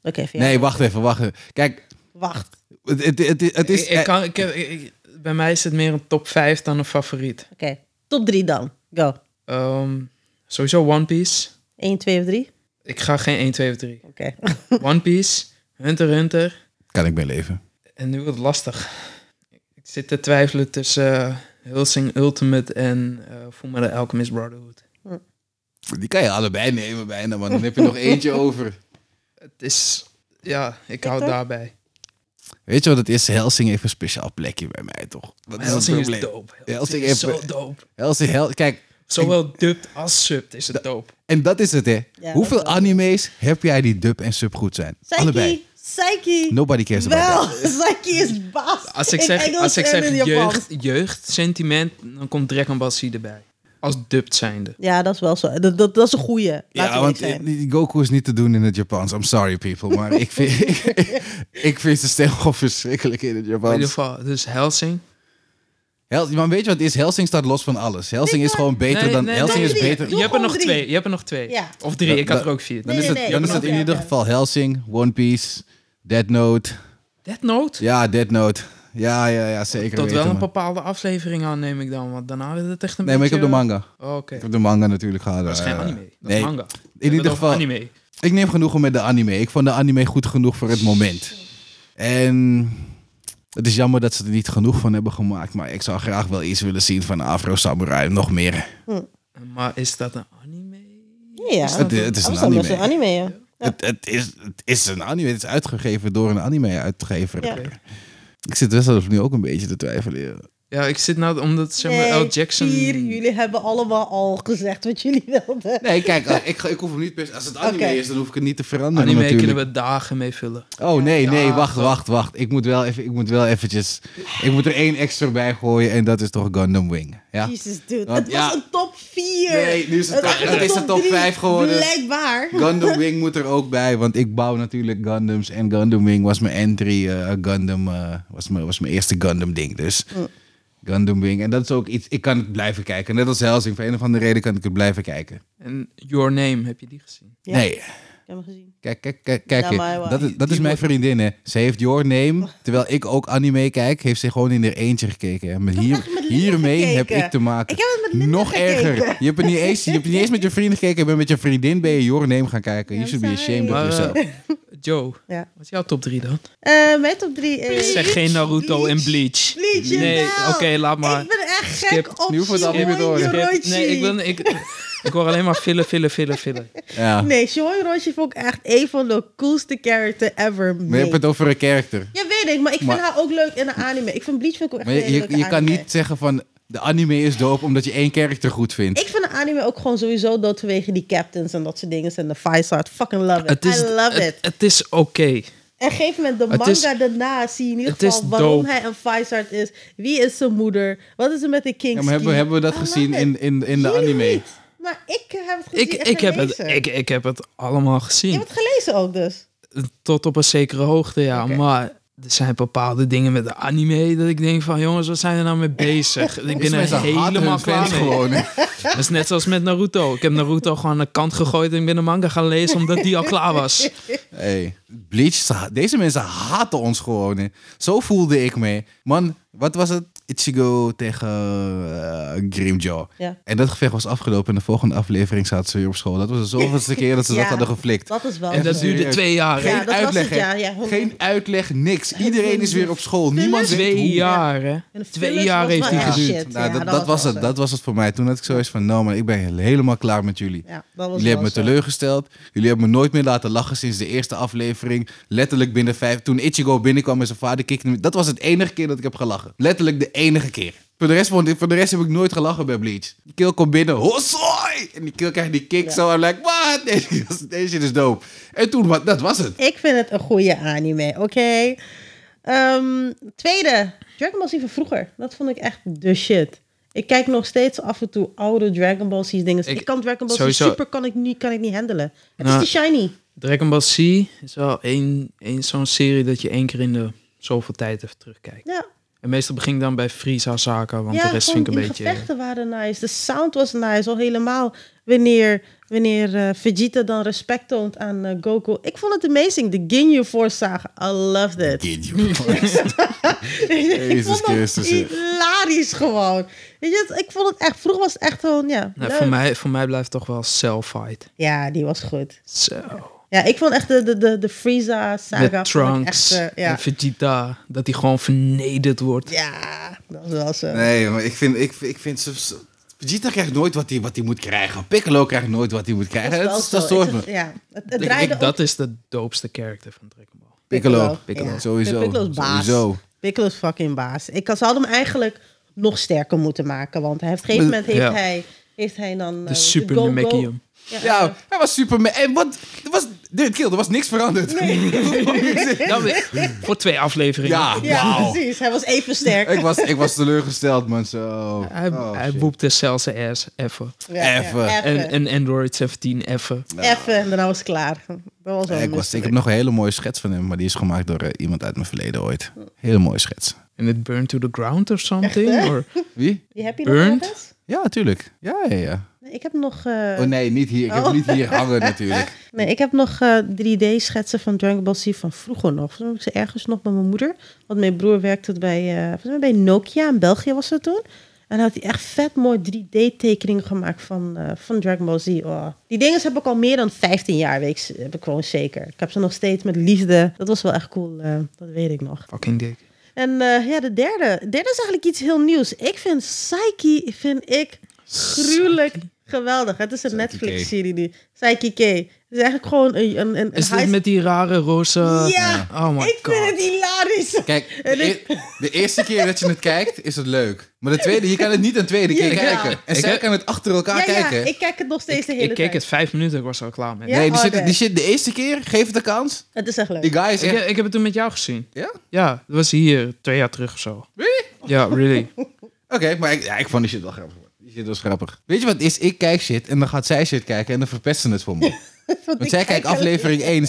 Oké, even-
Nee, wacht even, wacht even. Kijk,
Wacht.
het, het, het, het is... e-
ik, ik kan, ik, ik- bij mij is het meer een top 5 dan een favoriet.
Oké, top drie dan. Go.
Ehm, sowieso One Piece.
1, 2 of 3?
Ik ga geen 1, 2 of 3.
Oké.
One Piece, Hunter x Hunter.
Kan ik mee leven.
En nu wordt het lastig. Ik zit te twijfelen tussen eh, Hellsing Ultimate en eh Fullmetal Alchemist Brotherhood.
Die kan je allebei nemen bijna, man. Dan heb je nog eentje over.
Het is... Ja, ik hou
ook.
daarbij.
Weet je wat het is? Helsing heeft een speciaal plekje bij mij, toch? Dat
Maar
is het
Hellsing is
probleem.
dope.
Hellsing
Hellsing
heeft-
is zo dope.
Helsing, Hel kijk,
Zowel dubbed als subbed is het dope.
en dat is het, hè.
Ja,
Hoeveel
dat wel.
anime's heb jij die dub en sub goed zijn? Allebei.
Psyche. Psyche.
Nobody cares about
Wel, [laughs] Psyche is baas.
Als ik
in
zeg,
Engels
als ik
en in
zeg
Japans.
jeugd, jeugd, sentiment, dan komt Dragon Ball Z erbij. Als dubbed zijnde.
Ja, dat is wel zo. Dat, dat, dat is een goeie. Laten we
Ja,
eerlijk
want
zijn.
die Goku is niet te doen in het Japans. I'm sorry, people. Maar ik vind,
[laughs]
ik, vind zijn stem gewoon verschrikkelijk in het
In ieder
Japans.
geval, dus Helsing.
Hel, maar weet je wat het is? Helsing staat los van alles. Helsing is gewoon beter
Nee,
dan...
nee,
Helsing
nee,
is
nee.
beter...
Je hebt er
gewoon
nog
drie.
twee. Je hebt er nog twee.
Ja.
Of drie.
Dan-
Ik had
dan-
er ook vier.
Dan
Nee,
is het,
nee,
dan
nee,
is het in
oké,
ieder
oké.
geval Helsing, One Piece, Dead Note.
Death Note?
Ja, Dead Note. Ja, ja, ja, zeker
Tot
weten,
wel een
man.
bepaalde aflevering aan neem ik dan, want daarna werd het echt een
Nee, maar ik
beetje...
heb de manga.
Oh, Oké,
Ik heb de manga natuurlijk gehad.
dat is geen
eh,
anime. Dat
nee.
is manga. We
In
hebben het
ieder
over
geval,
anime.
ik neem genoegen met de anime. Ik vond de anime goed genoeg voor het moment. En het is jammer dat ze er niet genoeg van hebben gemaakt. Maar ik zou graag wel iets willen zien van Afro Samurai. Nog meer.
Maar is dat een anime?
Ja,
Is
Het, het is
Ah,
een
dat wel best
anime.
een anime, ja.
Het, het, is, het is een anime. Het is uitgegeven door een anime-uitgever.
Ja.
Ik zit best wel nu ook een beetje te twijfelen.
Ja, ik zit nou omdat zeg maar
Nee,
L. Jackson...
Hier, Eh, jullie hebben allemaal al gezegd wat jullie wilden.
Nee, kijk, [laughs] ik, ik hoef hem niet per Als het anime
Oké.
is, dan hoef ik het niet te veranderen
Anime
natuurlijk.
kunnen we dagen mee vullen.
Oh nee, nee,
Ja,
wacht,
toch.
wacht, wacht. Ik moet wel even, ik moet wel eventjes, ik moet er één extra bij gooien en dat is toch Gundam Wing. Ja?
Jesus, dude.
Want
het
ja.
was een top 4.
Nee, nu is het top- het is een top vijf geworden.
Blijkbaar.
Gundam Wing moet er ook bij, want ik bouw natuurlijk Gundams en Gundam Wing was mijn entry eh, Gundam, eh, was, mijn, was mijn eerste Gundam ding dus. Gundam Wing en dat is ook iets, ik kan het blijven kijken. Net als Helsing, voor een of andere reden kan ik het blijven kijken.
En Your Name, heb je die gezien?
Ja.
Nee,
Ik heb hem gezien.
Kijk, kijk, kijk, kijk.
Ja,
hier.
maar, eh,
dat is, dat is
die
mijn vriendin, hè. Ze heeft Your
Oh.
Name, terwijl ik ook anime kijk, heeft ze gewoon in haar eentje gekeken. Hè. Maar hier,
echt met Linda
hiermee heb
gekeken.
ik te maken.
Ik heb het met Linda
Nog
gekeken.
erger. Je hebt, het niet eens, je hebt het niet eens met je vrienden gekeken, je bent met je vriendin bij je Your Name gaan kijken. You
I'm
should be ashamed of
Maar, eh,
yourself.
Joe,
Ja.
wat is jouw top 3 dan?
Eh, mijn top 3 is...
Zeg geen Naruto en Bleach.
Bleach,
nee,
jawel.
oké, laat maar.
Ik ben echt gek
Skip.
op
Nu hoeven we het allemaal niet meer te
Shimon
horen.
Skip.
Yorochi.
Nee, ik, wil, ik, ik hoor alleen maar fillen, fillen, fillen, fillen.
Ja.
Nee, Shimon Yorochi vond ik echt een van de coolste character ever.
Maar je hebt
made.
het over een karakter.
Ja, weet ik, maar ik vind
Maar-
haar ook leuk in de anime. Ik vind Bleach vind ik ook echt
Maar
een
je,
hele
je,
leuke
je kan
anime.
niet zeggen van, de anime is dope omdat je één karakter goed vindt.
Ik vind de anime ook gewoon sowieso dood vanwege die captains en dat soort dingen. En de Fizard. Fucking love it.
Het is,
I love
het,
it.
het is oké.
En geef moment de
het
manga
is-
daarna zie je in ieder
het is
geval waarom
dope.
hij een Fizard is. Wie is zijn moeder? Wat is er met de King's
Ja, maar hebben, hebben we dat gezien in, in, in de anime?
Maar ik heb het gezien
Ik,
ik, en
ik, heb het,
gelezen.
ik, ik heb het allemaal
Je
gezien.
hebt het gelezen ook dus.
Tot op een zekere hoogte, ja. Maar er zijn bepaalde dingen met de anime dat ik denk van... jongens, wat zijn er nou mee bezig? Ik ben
Mensen
er
haten hun
helemaal
fans
klaar mee. [laughs]
gewoon. hè.
Dat is net zoals met Naruto. Ik heb
[laughs]
Naruto gewoon aan de kant gegooid en ik ben de manga gaan lezen omdat die al klaar was.
Hey, Bleach, ze ha- deze mensen haten ons gewoon. hè. Zo voelde ik me. Man, wat was het? Ichigo tegen eh, Grimjaw.
Ja.
En dat gevecht was afgelopen en de volgende aflevering zaten ze weer op school. Dat was de zoveelste
[laughs]
keer dat ze
Ja.
dat hadden geflikt.
Dat is wel.
En
En
zo.
dat duurde twee jaar. hè?
Ja, dat was
uitleg,
het,
hè?
ja, ja, honderd.
Geen uitleg, niks. Iedereen is weer op school. Niemand weet
Twee
hoe.
jaar, hè?
En de
Twee
fillers
jaar
was
heeft die
wel echt
geduurd.
shit.
Nou,
Ja,
dat, dat was
wel
het.
zo.
Dat was het voor mij. Toen had ik zoiets van, nou man, ik ben helemaal klaar met jullie.
Ja, dat was
Jullie hebben me
wel zo.
teleurgesteld. Jullie hebben me nooit meer laten lachen sinds de eerste aflevering. Letterlijk binnen vijf... Toen Ichigo binnenkwam en zijn vader kikte me- Dat was het enige keer dat ik heb gelachen. Letterlijk de enige keer. Voor de rest, vond ik- voor de rest heb ik nooit gelachen bij Bleach. Die kill komt binnen. Hossoi! En die kill krijgt die kick zo. En like, wat? [laughs] Deze, deze shit is dope. En toen, wat, dat was het.
Ik vind het een goede anime, oké? Ehm, tweede, Dragon Ball Z van vroeger. Dat vond ik echt de shit. Ik kijk nog steeds af en toe oude Dragon Ball Z dingen. Ik,
Ik-
kan Dragon Ball
sowieso-
Z Super kan ik niet, kan ik niet handelen. Het
Nou,
is te shiny.
Dragon Ball Z is wel één, één zo'n serie dat je één keer in de zoveel tijd even terugkijkt.
Ja,
En meestal begin ik dan bij Frieza zaken, want
ja
de rest
gewoon
vind ik een
die
beetje...
gevechten waren nice. De sound was nice. Al helemaal wanneer, wanneer eh, Vegeta dan respect toont aan eh, Goku. Ik vond het amazing. De Ginyu Force zagen. I loved it.
Kid,
[laughs]
joh.
ik
Jezus
vond het
Christus, hè.
hilarisch gewoon. Weet je, het- ik vond het echt... Vroeger was het echt gewoon, ja,
Nou,
leuk.
voor, mij, voor mij blijft toch wel Cell Fight.
Ja, die was goed.
Zo.
Ja, ik vond echt de, de, de, de Frieza-saga...
Met
vond ik
Trunks
Echt, eh, ja.
en Vegeta, dat hij gewoon vernederd wordt.
ja, dat was wel zo.
Nee, maar ik vind, ik, ik vind ze... ze- Vegeta krijgt nooit wat hij wat hij moet krijgen. Piccolo krijgt nooit wat hij
Dat
moet
was
krijgen. Dat,
wel
is- dat
zo.
stoort
Ik-
me.
Ja, het, het
Ik-
draaide
ik, dat
om
is de doopste character van Dragon Ball.
Piccolo.
Piccolo, ja.
Sowieso.
Piccolo's baas.
Sowieso.
Piccolo's fucking baas. Ik had- ze hadden hem eigenlijk nog sterker moeten maken. Want hij heeft, op een gegeven moment
Ja.
heeft, hij, heeft hij dan... eh,
De Super Namekium.
Ja, hij was Superman. En wat? Er was, dit kill, er was niks veranderd.
Nou, we- [laughs] voor twee afleveringen.
Ja,
Ja,
wauw.
precies. Hij was even sterk.
[laughs] Ik was, ik was teleurgesteld, man. Zo.
Hij,
Oh,
hij
shit.
boepte zelfs zijn ass even.
Ja,
Even.
Ja,
En, en Android 17 even.
Even, en daarna was het klaar. Dat was wel
Nou. Ik, was, ik
misselijk.
heb nog een hele mooie schets van hem, maar die is gemaakt door eh, iemand uit mijn verleden ooit. Hele mooie schets.
En het burn to the ground of something.
hè?
or-
Wie?
Die heb je nog
Burnt?
ergens?
Ja, tuurlijk. Ja, ja, ja.
Ik heb nog, eh,
Oh nee, niet hier. Ik heb
Oh.
niet hier hangen natuurlijk.
nee, ik heb nog eh, 3D-schetsen van Dragon Ball Z van vroeger nog. Toen heb ik ze ergens nog bij mijn moeder. Want mijn broer werkte bij, eh, volgens mij bij Nokia in België was dat toen. En had hij echt vet mooi 3D-tekeningen gemaakt van, eh, van Dragon Ball Z. Oh. Die dingen heb ik al meer dan 15 jaar, weet ik, heb ik gewoon zeker. Ik heb ze nog steeds met liefde. Dat was wel echt cool, eh, dat weet ik nog.
Fucking dik.
En eh, ja, de derde. De derde is eigenlijk iets heel nieuws. Ik vind Psyche, vind ik gruwelijk geweldig. Het is een
Psyche
Netflix-serie nu. Psyche K. Het is eigenlijk gewoon een... een, een
Is
een
dit
heist-
met die rare roze...
Ja,
Oh my
ik vind
God.
het hilarisch. [laughs]
Kijk, de, eer- de eerste keer dat je het kijkt, is het leuk. Maar de tweede, je kan het niet een tweede keer
Ja.
kijken. En
Ik
zij
heb-
kan het achter elkaar
Ja,
kijken.
ja, ik kijk het nog steeds de hele
Ik keek
tijd.
het vijf minuten, ik was al klaar mee.
Ja?
nee, die,
oh,
shit,
nee.
die shit de eerste keer, geef het een kans.
het. is echt leuk.
Die guy is
Ik,
echt...
ik heb het toen met jou gezien.
Ja?
Ja, dat was hier twee jaar terug of zo.
Really?
Ja, really. [laughs]
Oké, maar ik, ja, ik vond die shit wel grappig. man. Die shit was grappig. Weet je wat het is? Ik kijk shit en dan gaat zij shit kijken en dan verpest ze het
[laughs]
voor me.
[laughs] Want
Want
ik
zij
kijk
kijkt aflevering 1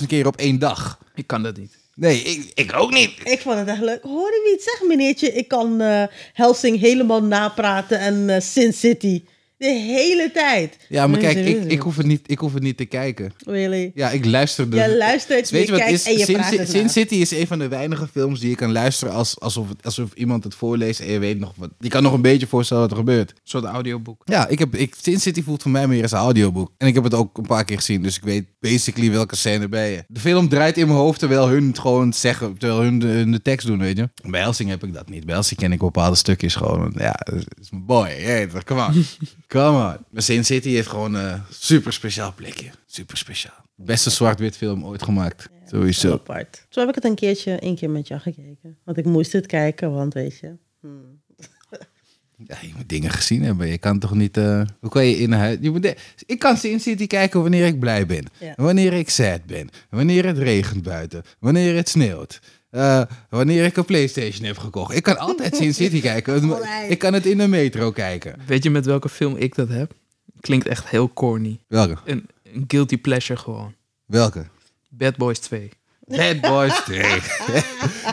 36.000 keer op één dag.
ik kan dat niet.
Nee, ik, ik ook niet.
Ik vond het echt leuk. Hoorde wie het zegt, meneertje? Ik kan eh, Helsing helemaal napraten en eh, Sin City. De hele tijd.
Ja, maar
Mensen
kijk, ik,
weten
ik,
het.
hoef het niet, ik hoef het niet te kijken.
Really?
Ja, ik luister dus.
Jij luistert,
Weet je wat het
kijkt
is?
en je
Sin,
praat
Ci-
het
Sin
na.
City is een van de weinige films die je kan luisteren als, alsof, het- alsof iemand het voorleest en je weet nog wat. Je kan nog een beetje voorstellen wat er gebeurt.
Een soort audioboek.
Ja, ik heb, ik, Sin City voelt voor mij meer als een audioboek. En ik heb het ook een paar keer gezien, dus ik weet basically welke scène bij je. De film draait in mijn hoofd terwijl hun het gewoon zeggen, terwijl hun de, hun de tekst doen, weet je. Bij Helsing heb ik dat niet. Bij Helsing ken ik bepaalde stukjes gewoon. want Ja, dat is mijn boy. Hey, toch, come on. come on. Maar Sin City heeft gewoon een super speciaal plekje. Super speciaal. Beste zwart-wit film ooit gemaakt. Sowieso.
Apart. Zo heb ik het een keertje, één keer met jou gekeken. Want ik moest het kijken, want weet je. hmm.
Ja, je moet dingen gezien hebben. Je kan toch niet. eh, hoe kan je in huis. Je moet, de- ik kan Sin City kijken wanneer ik blij ben.
Ja.
Wanneer ik sad ben. Wanneer het regent buiten. Wanneer het sneeuwt. eh, wanneer ik een PlayStation heb gekocht. Ik kan
[laughs]
altijd Sin City kijken.
Altijd.
Ik kan het in de metro kijken.
Weet je met welke film ik dat heb? Klinkt echt heel corny.
Welke?
Een, een guilty pleasure gewoon.
Welke?
Bad Boys 2.
Bad Boys 2. [laughs]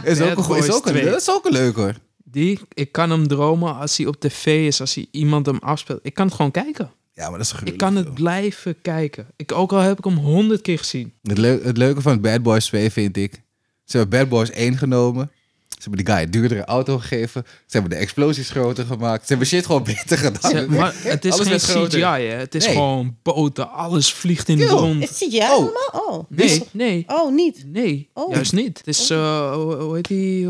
is, ook,
Bad
een goe- is,
Boys
ook een,
2.
dat is ook een leuk hoor.
Die, ik kan hem dromen als hij op tv is, als hij iemand hem afspeelt. Ik kan het gewoon kijken.
Ja, maar dat is een
Ik kan het blijven kijken. Ik, ook al heb ik hem honderd keer gezien.
Het, leu- het leuke van Bad Boys 2 vind ik. Ze hebben Bad Boys 1 genomen. Ze hebben die guy een duurdere auto gegeven. Ze hebben de explosies groter gemaakt. Ze hebben shit gewoon [laughs] beter gedaan.
Ze- maar het is
Alles werd
geen
groter.
CGI, hè. Het is
Nee.
gewoon boten, alles vliegt in de
Kill.
[laughs] rond.
Is het jij
Oh.
allemaal? Oh.
Hm. Nee, nee,
Oh, niet.
nee,
Oh.
juist niet. Het is, eh, hoe hoe heet die, eh,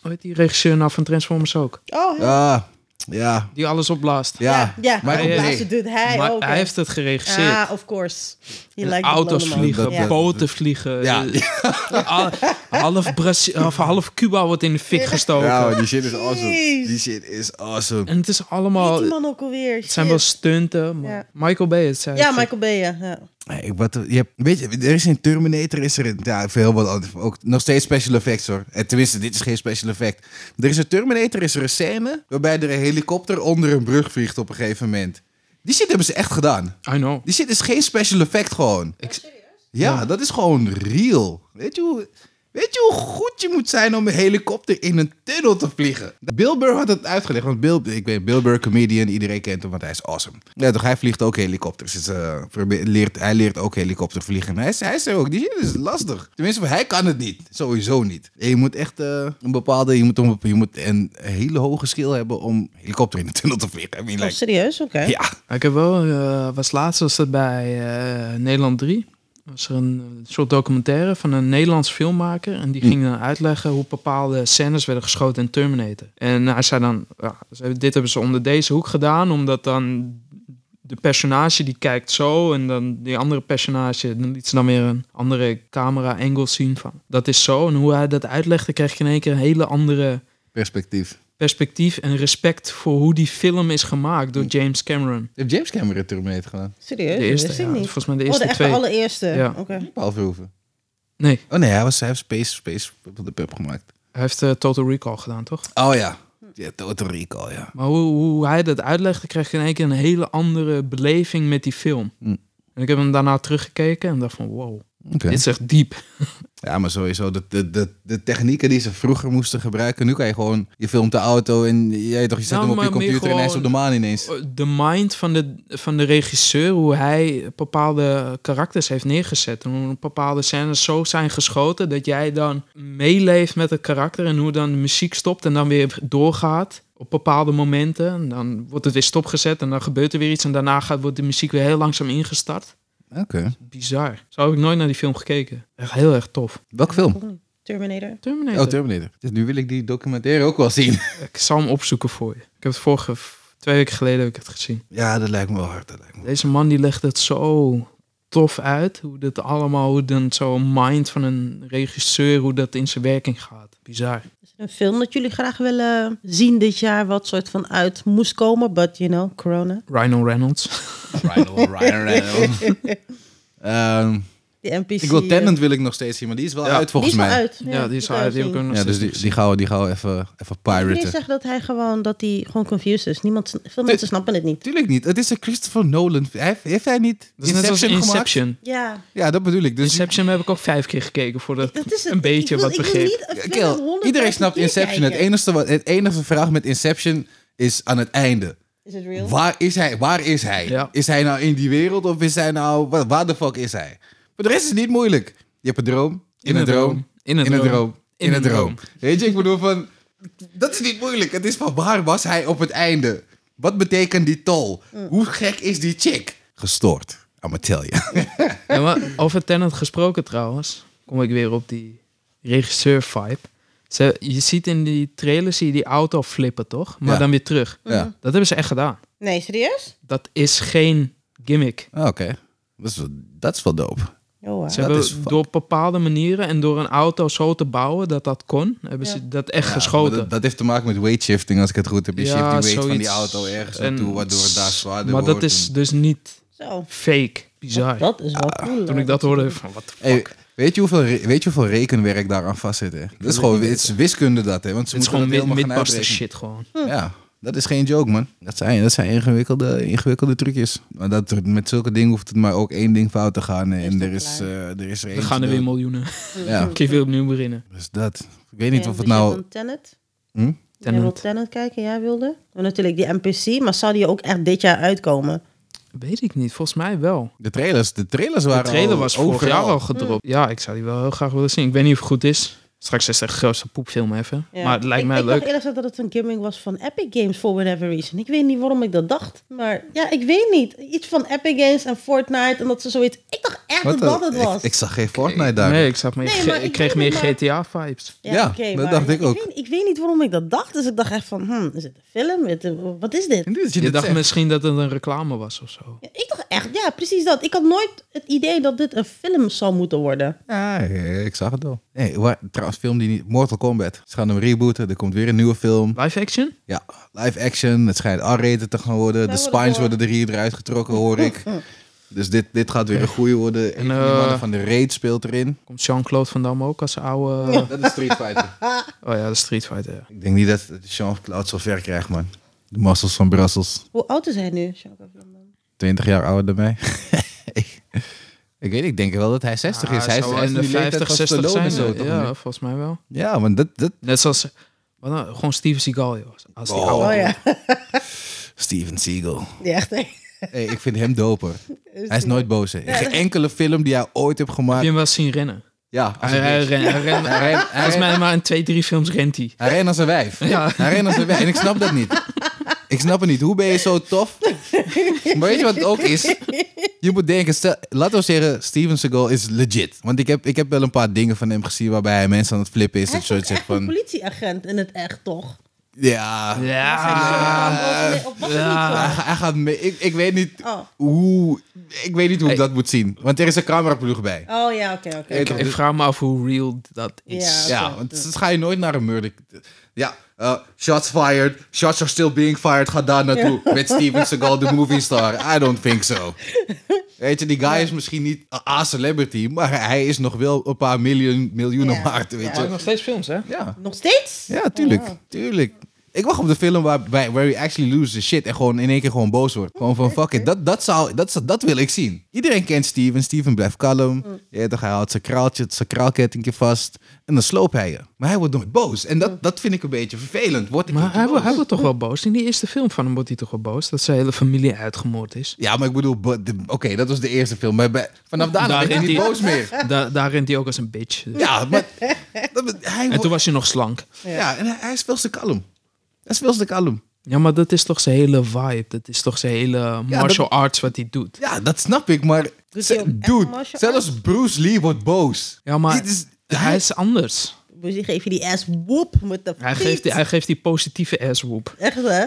hoe heet die regisseur nou van Transformers ook?
Oh, hij-
Ah, ja,
Die alles opblaast.
ja.
ja.
Michael
Hij
Bay.
blaast doet hij
maar
ook.
hij heeft het geregisseerd.
Ah, of course. Je lijkt
Auto's vliegen,
Dat- dat-
boten vliegen.
Ja.
eh,
[laughs]
al- half, Brazi- of half Cuba wordt in de fik gestoken.
Ja, maar die shit is awesome.
Jeez.
Die shit is awesome.
En het is
Heet
allemaal...
die man ook alweer?
Het zijn wel
Shit.
stunten. Maar
Ja.
Michael Bay, het zijn
Ja, Michael Bay, ja. ja. Oh,
Hey, ik- wat, je hebt, weet je, er is in Terminator, is er een, ja, veel wat anders, ook nog steeds special effects hoor. En tenminste, dit is geen special effect. Er is een Terminator, is er een scène waarbij er een helikopter onder een brug vliegt op een gegeven moment. Die shit hebben ze echt gedaan.
I know.
Die shit is geen special effect gewoon. ja, dat is gewoon real. Weet je, hoe, weet je hoe goed je moet zijn om een helikopter in een tunnel te vliegen? Bill Burr had het uitgelegd. Want Bill, ik weet, Bill Burr, comedian, iedereen kent hem, want hij is awesome. Ja, toch, hij vliegt ook helikopters. Dus, eh, probeer- leert, hij leert ook helikopter vliegen. Hij, is- hij zei ook, die shit is lastig. Tenminste, hij kan het niet. Sowieso niet. En je moet echt eh, een bepaalde, je moet, een, je moet een hele hoge skill hebben om helikopter in een tunnel te vliegen. I mean,
Oh,
like,
serieus? Oké.
ja.
Ik heb wel, eh, was laatst was dat bij eh, Nederland 3. Was er een soort documentaire van een Nederlands filmmaker. En die ging dan uitleggen hoe bepaalde scènes werden geschoten in Terminator. En hij zei dan, ja, ze hebben- dit hebben ze onder deze hoek gedaan. Omdat dan de personage die kijkt zo. En dan die andere personage, dan liet ze dan weer een andere camera angle zien van. Dat is zo. En hoe hij dat uitlegde, kreeg ik in één keer een hele andere
Perspectief.
perspectief. En respect voor hoe die film is gemaakt door James Cameron.
Heeft James Cameron Terminator gedaan?
Serieus?
De eerste,
dat wist ik
ja.
niet.
Volgens mij de
oh,
eerste
de echte
twee.
allereerste.
Ja.
Oké.
Paul Verhoeven.
Nee,
Oh nee, hij, was, hij heeft Space, Space op de pub gemaakt.
hij heeft eh, Total Recall gedaan, toch?
Oh ja. Ja, Total Recall, ja.
Maar hoe, hoe hij dat uitlegde, kreeg ik in één keer een hele andere beleving met die film.
Hm.
En ik heb hem daarna teruggekeken en dacht van, wow.
Oké.
Dit is echt diep.
Ja, maar sowieso, de, de, de, de technieken die ze vroeger moesten gebruiken, nu kan je gewoon, je filmt de auto en jij toch, je zet
Nou,
hem op je
maar meer
computer en hij is op
gewoon-
de maan ineens.
De mind van de, van de regisseur, hoe hij bepaalde karakters heeft neergezet. En hoe bepaalde scènes zo zijn geschoten dat jij dan meeleeft met het karakter. En hoe dan de muziek stopt en dan weer doorgaat op bepaalde momenten. En dan wordt het weer stopgezet en dan gebeurt er weer iets. En daarna gaat, wordt de muziek weer heel langzaam ingestart.
Oké,
Bizar. Zo heb ik nooit naar die film gekeken. Echt heel erg tof.
welke film?
Ook niet. Terminator.
Terminator.
Oh, Terminator. Dus nu wil ik die documentaire ook wel zien.
Ik zal hem opzoeken voor je. Ik heb het vorige, twee weken geleden heb ik het gezien.
[laughs] Ja, dat lijkt me wel hard, dat lijkt me
Deze man die legt het zo tof uit. Hoe dit allemaal, hoe dan zo'n mind van een regisseur, hoe dat in zijn werking gaat. Bizar.
Is er een film dat jullie graag willen zien dit jaar? Wat soort van uit moest komen? But you know, corona.
Ryan Reynolds.
Ryan, Ryan Reynolds. [laughs] Ehm,
De NPC.
ik wil
eh,
Tenant wil ik nog steeds zien, maar die is wel
Ja.
uit volgens
die is
mij.
al uit.
Ja, die is
kan je
uit. Die heb
zien.
ik ook nog
Ja,
steeds
dus die,
niet
die gaan we, die gaan we even, even
Iedereen
piraten.
zegt dat hij gewoon, dat hij gewoon confused is. Niemand, veel mensen snappen het niet.
Tuurlijk niet. Het is een Christopher Nolan. Hij Heeft, heeft hij niet
gezien. Dat is net als
Inception gemaakt?
Inception.
Ja,
Ja, dat bedoel ik. Dus
Inception heb ik ook vijf keer gekeken voordat
dat is het.
een beetje
Ik wil-
wat
ik wil
begreep.
niet een film
Kill,
100
iedereen snapt
keer
Inception. Het
kijken.
enige, wat, het enige vraag met Inception is aan het einde.
Is het real?
Waar is hij? Waar is hij?
Ja.
Is hij nou in die wereld of is hij nou... wa- Waar de fuck is hij? Maar de rest is niet moeilijk. Je hebt een droom, in, een droom,
In een
in een
droom.
droom, in een
een
droom.
droom.
Weet je, ik bedoel van... Dat is niet moeilijk. Het is van waar was hij op het einde? Wat betekent die tol?
Mm.
Hoe gek is die chick? Gestoord. I'ma tell you. [laughs]
Ja, maar over Tenant gesproken trouwens, kom ik weer op die regisseur-vibe. Ze- Je ziet in die trailer zie je die auto flippen, toch? Maar
Ja.
dan weer terug.
Ja.
Dat hebben ze echt gedaan.
Nee, serieus?
Dat is geen gimmick.
Ah, Oké. Dat is wel- Dat is wel dope.
Oh, wow.
Ze
Dat is
hebben
fuck.
door bepaalde manieren en door een auto zo te bouwen dat dat kon, hebben ze dat echt
Ja, maar
geschoten.
Dat, dat heeft te maken met weight shifting, als ik het goed heb. Je
Ja,
shift die weight van die
zoiets.
auto ergens
En-
naartoe, waardoor het daar zwaarder
Maar dat
wordt.
is
en-
dus niet
Zo.
fake. Bizar.
Dat is
Ah,
wel cool.
Toen ik dat hoorde, van wat
Hey, weet, je hoeveel, re- weet je hoeveel rekenwerk daaraan vastzit? Hè? Dat is gewoon het is wiskunde dat, hè? Want ze
Het is
moeten
gewoon
dat
mid-
helemaal gaan
midbuster
uitrekenen.
shit gewoon.
Ja, dat is geen joke, man. Dat zijn, dat zijn ingewikkelde, ingewikkelde trucjes. Maar dat, er- met zulke dingen hoeft het maar ook één ding fout te gaan. hè, En er is, eh, er is er
We
eentje
gaan er weer
dood.
miljoenen.
Ja,
Kun je weer opnieuw beginnen.
dus dat. Ik weet niet of
dus
het nou...
Tenet?
Hm?
Jij wil
Tenet.
Tenet kijken, jij wilde? En natuurlijk die NPC, maar zou die ook echt dit jaar uitkomen?
Weet ik niet. Volgens mij wel.
De trailers, de trailers
De
waren
trailer
al
was vorig
overal.
jaar al gedropt.
Mm.
Ja, ik zou die wel heel graag willen zien. Ik weet niet of het goed is. Straks is het de grootste poepfilm even.
Ja.
Maar het lijkt
ik,
mij
ik
leuk.
dacht eerlijk gezegd dat het een gimmick was van Epic Games for whatever reason. Ik weet niet waarom ik dat dacht. Maar ja, ik weet niet. Iets van Epic Games en Fortnite en dat ze zoiets... Ik dacht echt
Wat
dat dat
dan?
het was.
Ik, ik zag geen Fortnite daar.
Nee, ik, zat meer,
Nee, maar
ik
ik
kreeg meer
weet het,
GTA-vibes.
ja,
oké,
dat dacht ik ook.
Ik weet, ik weet niet waarom ik dat dacht. Dus ik dacht echt van, hmm, is het een film? Het- Wat is dit?
En dit is
Je
dit
dacht
zegt.
misschien dat het een reclame was of zo.
Ja, ik dacht echt, ja, precies dat. Ik had nooit het idee dat dit een film zou moeten worden.
Ja, ik zag het al. Nee, waar, trouwens, film die niet... Mortal Kombat. Ze gaan hem rebooten. Er komt weer een nieuwe film.
Live action?
Ja, live action. Het schijnt R-rated te gaan worden. De
Wij worden
spines
door.
worden er hier eruit getrokken,
[laughs]
hoor ik. Dus dit, dit gaat weer een goeie worden. En,
En,
die
eh,
mannen van de raid speelt erin.
Komt Jean-Claude Van Damme ook als oude...
Dat is Street Fighter.
Oh ja, de Street Fighter. ja.
[laughs] ik denk niet dat dat Jean-Claude zo ver krijgt, man. De muscles van Brussels.
Hoe oud is hij nu? Jean-Claude Van Damme?
20 jaar ouder dan mij. [laughs] ik, ik weet ik denk wel dat hij 60
Ja,
is. Hij is
Ah, zou
hij
wel
is
in de
die
50,
leeftijd van
60
Stallone
zijn.
en zo,
Zo,
toch
ja,
nu?
volgens mij wel.
ja, want dat, dat,
Net zoals... wat nou, gewoon Steven Seagal, joh. Als die
Oh.
oude...
Oh ja,
Steven Seagal.
die echt. hè?
Hey, ik vind hem doper. Hij is nooit boos. hè. Geen enkele film die hij ooit heeft
Heb je
gemaakt.
hem wel eens zien rennen?
Ja, als
Hij,
een
hij,
bitch.
ren, hij ren-
hij rent- hij
volgens
rent-
mij maar in twee, drie films rent hij.
hij rent als een wijf.
Ja.
Hij rent als een wijf. En ik snap dat niet. Ik snap het niet. Hoe ben je zo tof? Maar weet je wat het ook is? Je moet denken, stel, laten we zeggen, Steven Seagal is legit. Want ik heb, ik heb wel een paar dingen van hem gezien waarbij hij mensen aan het flippen is.
Hij
Dat
is ook
soort
echt
zegt
een
van,
politieagent in het echt, toch?
ja,
Ja.
of was het
Hij,
niet zo?
ga- hij gaat mee. Ik, ik weet niet
Oh.
hoe, ik, weet niet hoe ik
Hey.
dat moet zien. Want er is een cameraploeg bij.
Oh ja, oké, oké.
Ik-
Ik, ik vraag me af hoe real dat is.
Ja.
Ja, want dat ga je nooit naar een murder. Ja, eh, shots fired, shots are still being fired. Ga daar naartoe met Steven Seagal, de movie star.
[laughs]
I don't think so. Weet je, die guy is misschien niet een A-celebrity, maar hij is nog wel een paar miljoen, miljoenen
Ja.
waard, weet
Maakt
je.
nog steeds films, hè?
Ja,
Nog steeds?
ja tuurlijk, tuurlijk. Ik wacht op de film waar, waar, where he actually loses shit en gewoon in één keer gewoon boos wordt. Gewoon van fuck it, dat, dat, zou, dat, zou- dat wil ik zien. Iedereen kent Steven, Steven blijft kalm. Ja, toch, hij houdt zijn kraaltje, zijn kraalkettingje vast en dan sloopt hij je. Maar hij wordt nooit boos en dat, dat vind ik een beetje vervelend. Word ik
Maar
niet
hij,
boos?
wordt- hij wordt toch wel boos. In die eerste film van hem wordt hij toch wel boos. Dat zijn hele familie uitgemoord is.
Ja, maar ik bedoel, bo- de- oké, dat was de eerste film. Maar bij- vanaf daarna ben
Daar
ik
rent
niet
hij-
boos meer.
Da [laughs] daar rent hij ook als een bitch. Dus-
Ja, maar dat- hij,
En
wordt-
toen was hij nog slank.
ja, en hij, hij is veel te kalm. Hij is veel te kalm.
Ja, maar dat is toch zijn hele vibe. Dat is toch zijn hele martial arts wat hij doet.
Ja, dat snap ik, maar
Doet hij ook echt
dude,
martial
zelfs Bruce Lee wordt boos.
Ja, maar
Dit is-
hij is anders.
Boezie geeft je die ass whoop met de
Hij
fiets.
geeft, die, hij geeft die positieve ass whoop.
Echt hè?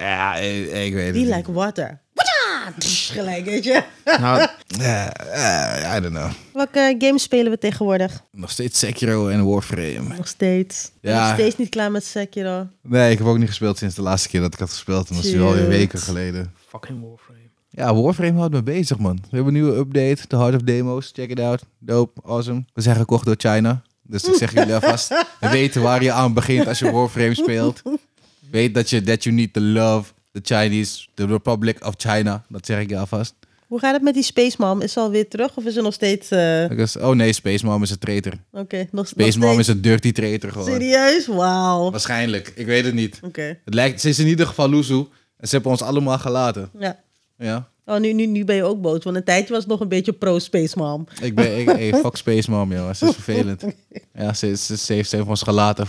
Ja, ik, ik weet het
Die
niet.
like water. Waja! Pff, Gelijk, weet je.
Nou,
Ja, eh, I don't know.
Welke games spelen we tegenwoordig?
Nog steeds Sekiro en Warframe.
Nog steeds.
Ja.
Nog steeds niet klaar met Sekiro.
Nee, ik heb ook niet gespeeld sinds de laatste keer dat ik had gespeeld. En dat is nu alweer
Shit.
weken geleden.
fucking Warframe.
Ja, Warframe houdt me bezig, man. We hebben een nieuwe update. The Heart of Demos. Check it out. Dope. Awesome. We zijn gekocht door China. Dus ik zeg jullie alvast.
[laughs]
We weten waar je aan begint als je Warframe speelt. Weet dat je that you need to love the Chinese, the Republic of China. Dat zeg ik je alvast.
Hoe gaat het met die Space Mom? Is ze alweer terug of is ze nog steeds... eh,
Ik was- oh nee, Space Mom is een traitor.
Oké, nog, nog
Space Mom
steeds.
is een dirty traitor gewoon.
Serieus? Wauw. Oké.
Waarschijnlijk. Ik weet het niet. Het lijkt, ze is in ieder geval loezoe. En ze hebben ons allemaal gelaten.
Ja.
Ja.
Oh, nu, nu, nu ben je ook boos. Want een tijdje was het nog een beetje pro-Space Mom. [laughs]
Ik ben, ik, hey, fuck Space Mom, joh. Ze is vervelend. Ja, ze, ze, ze heeft ze heeft ons gelaten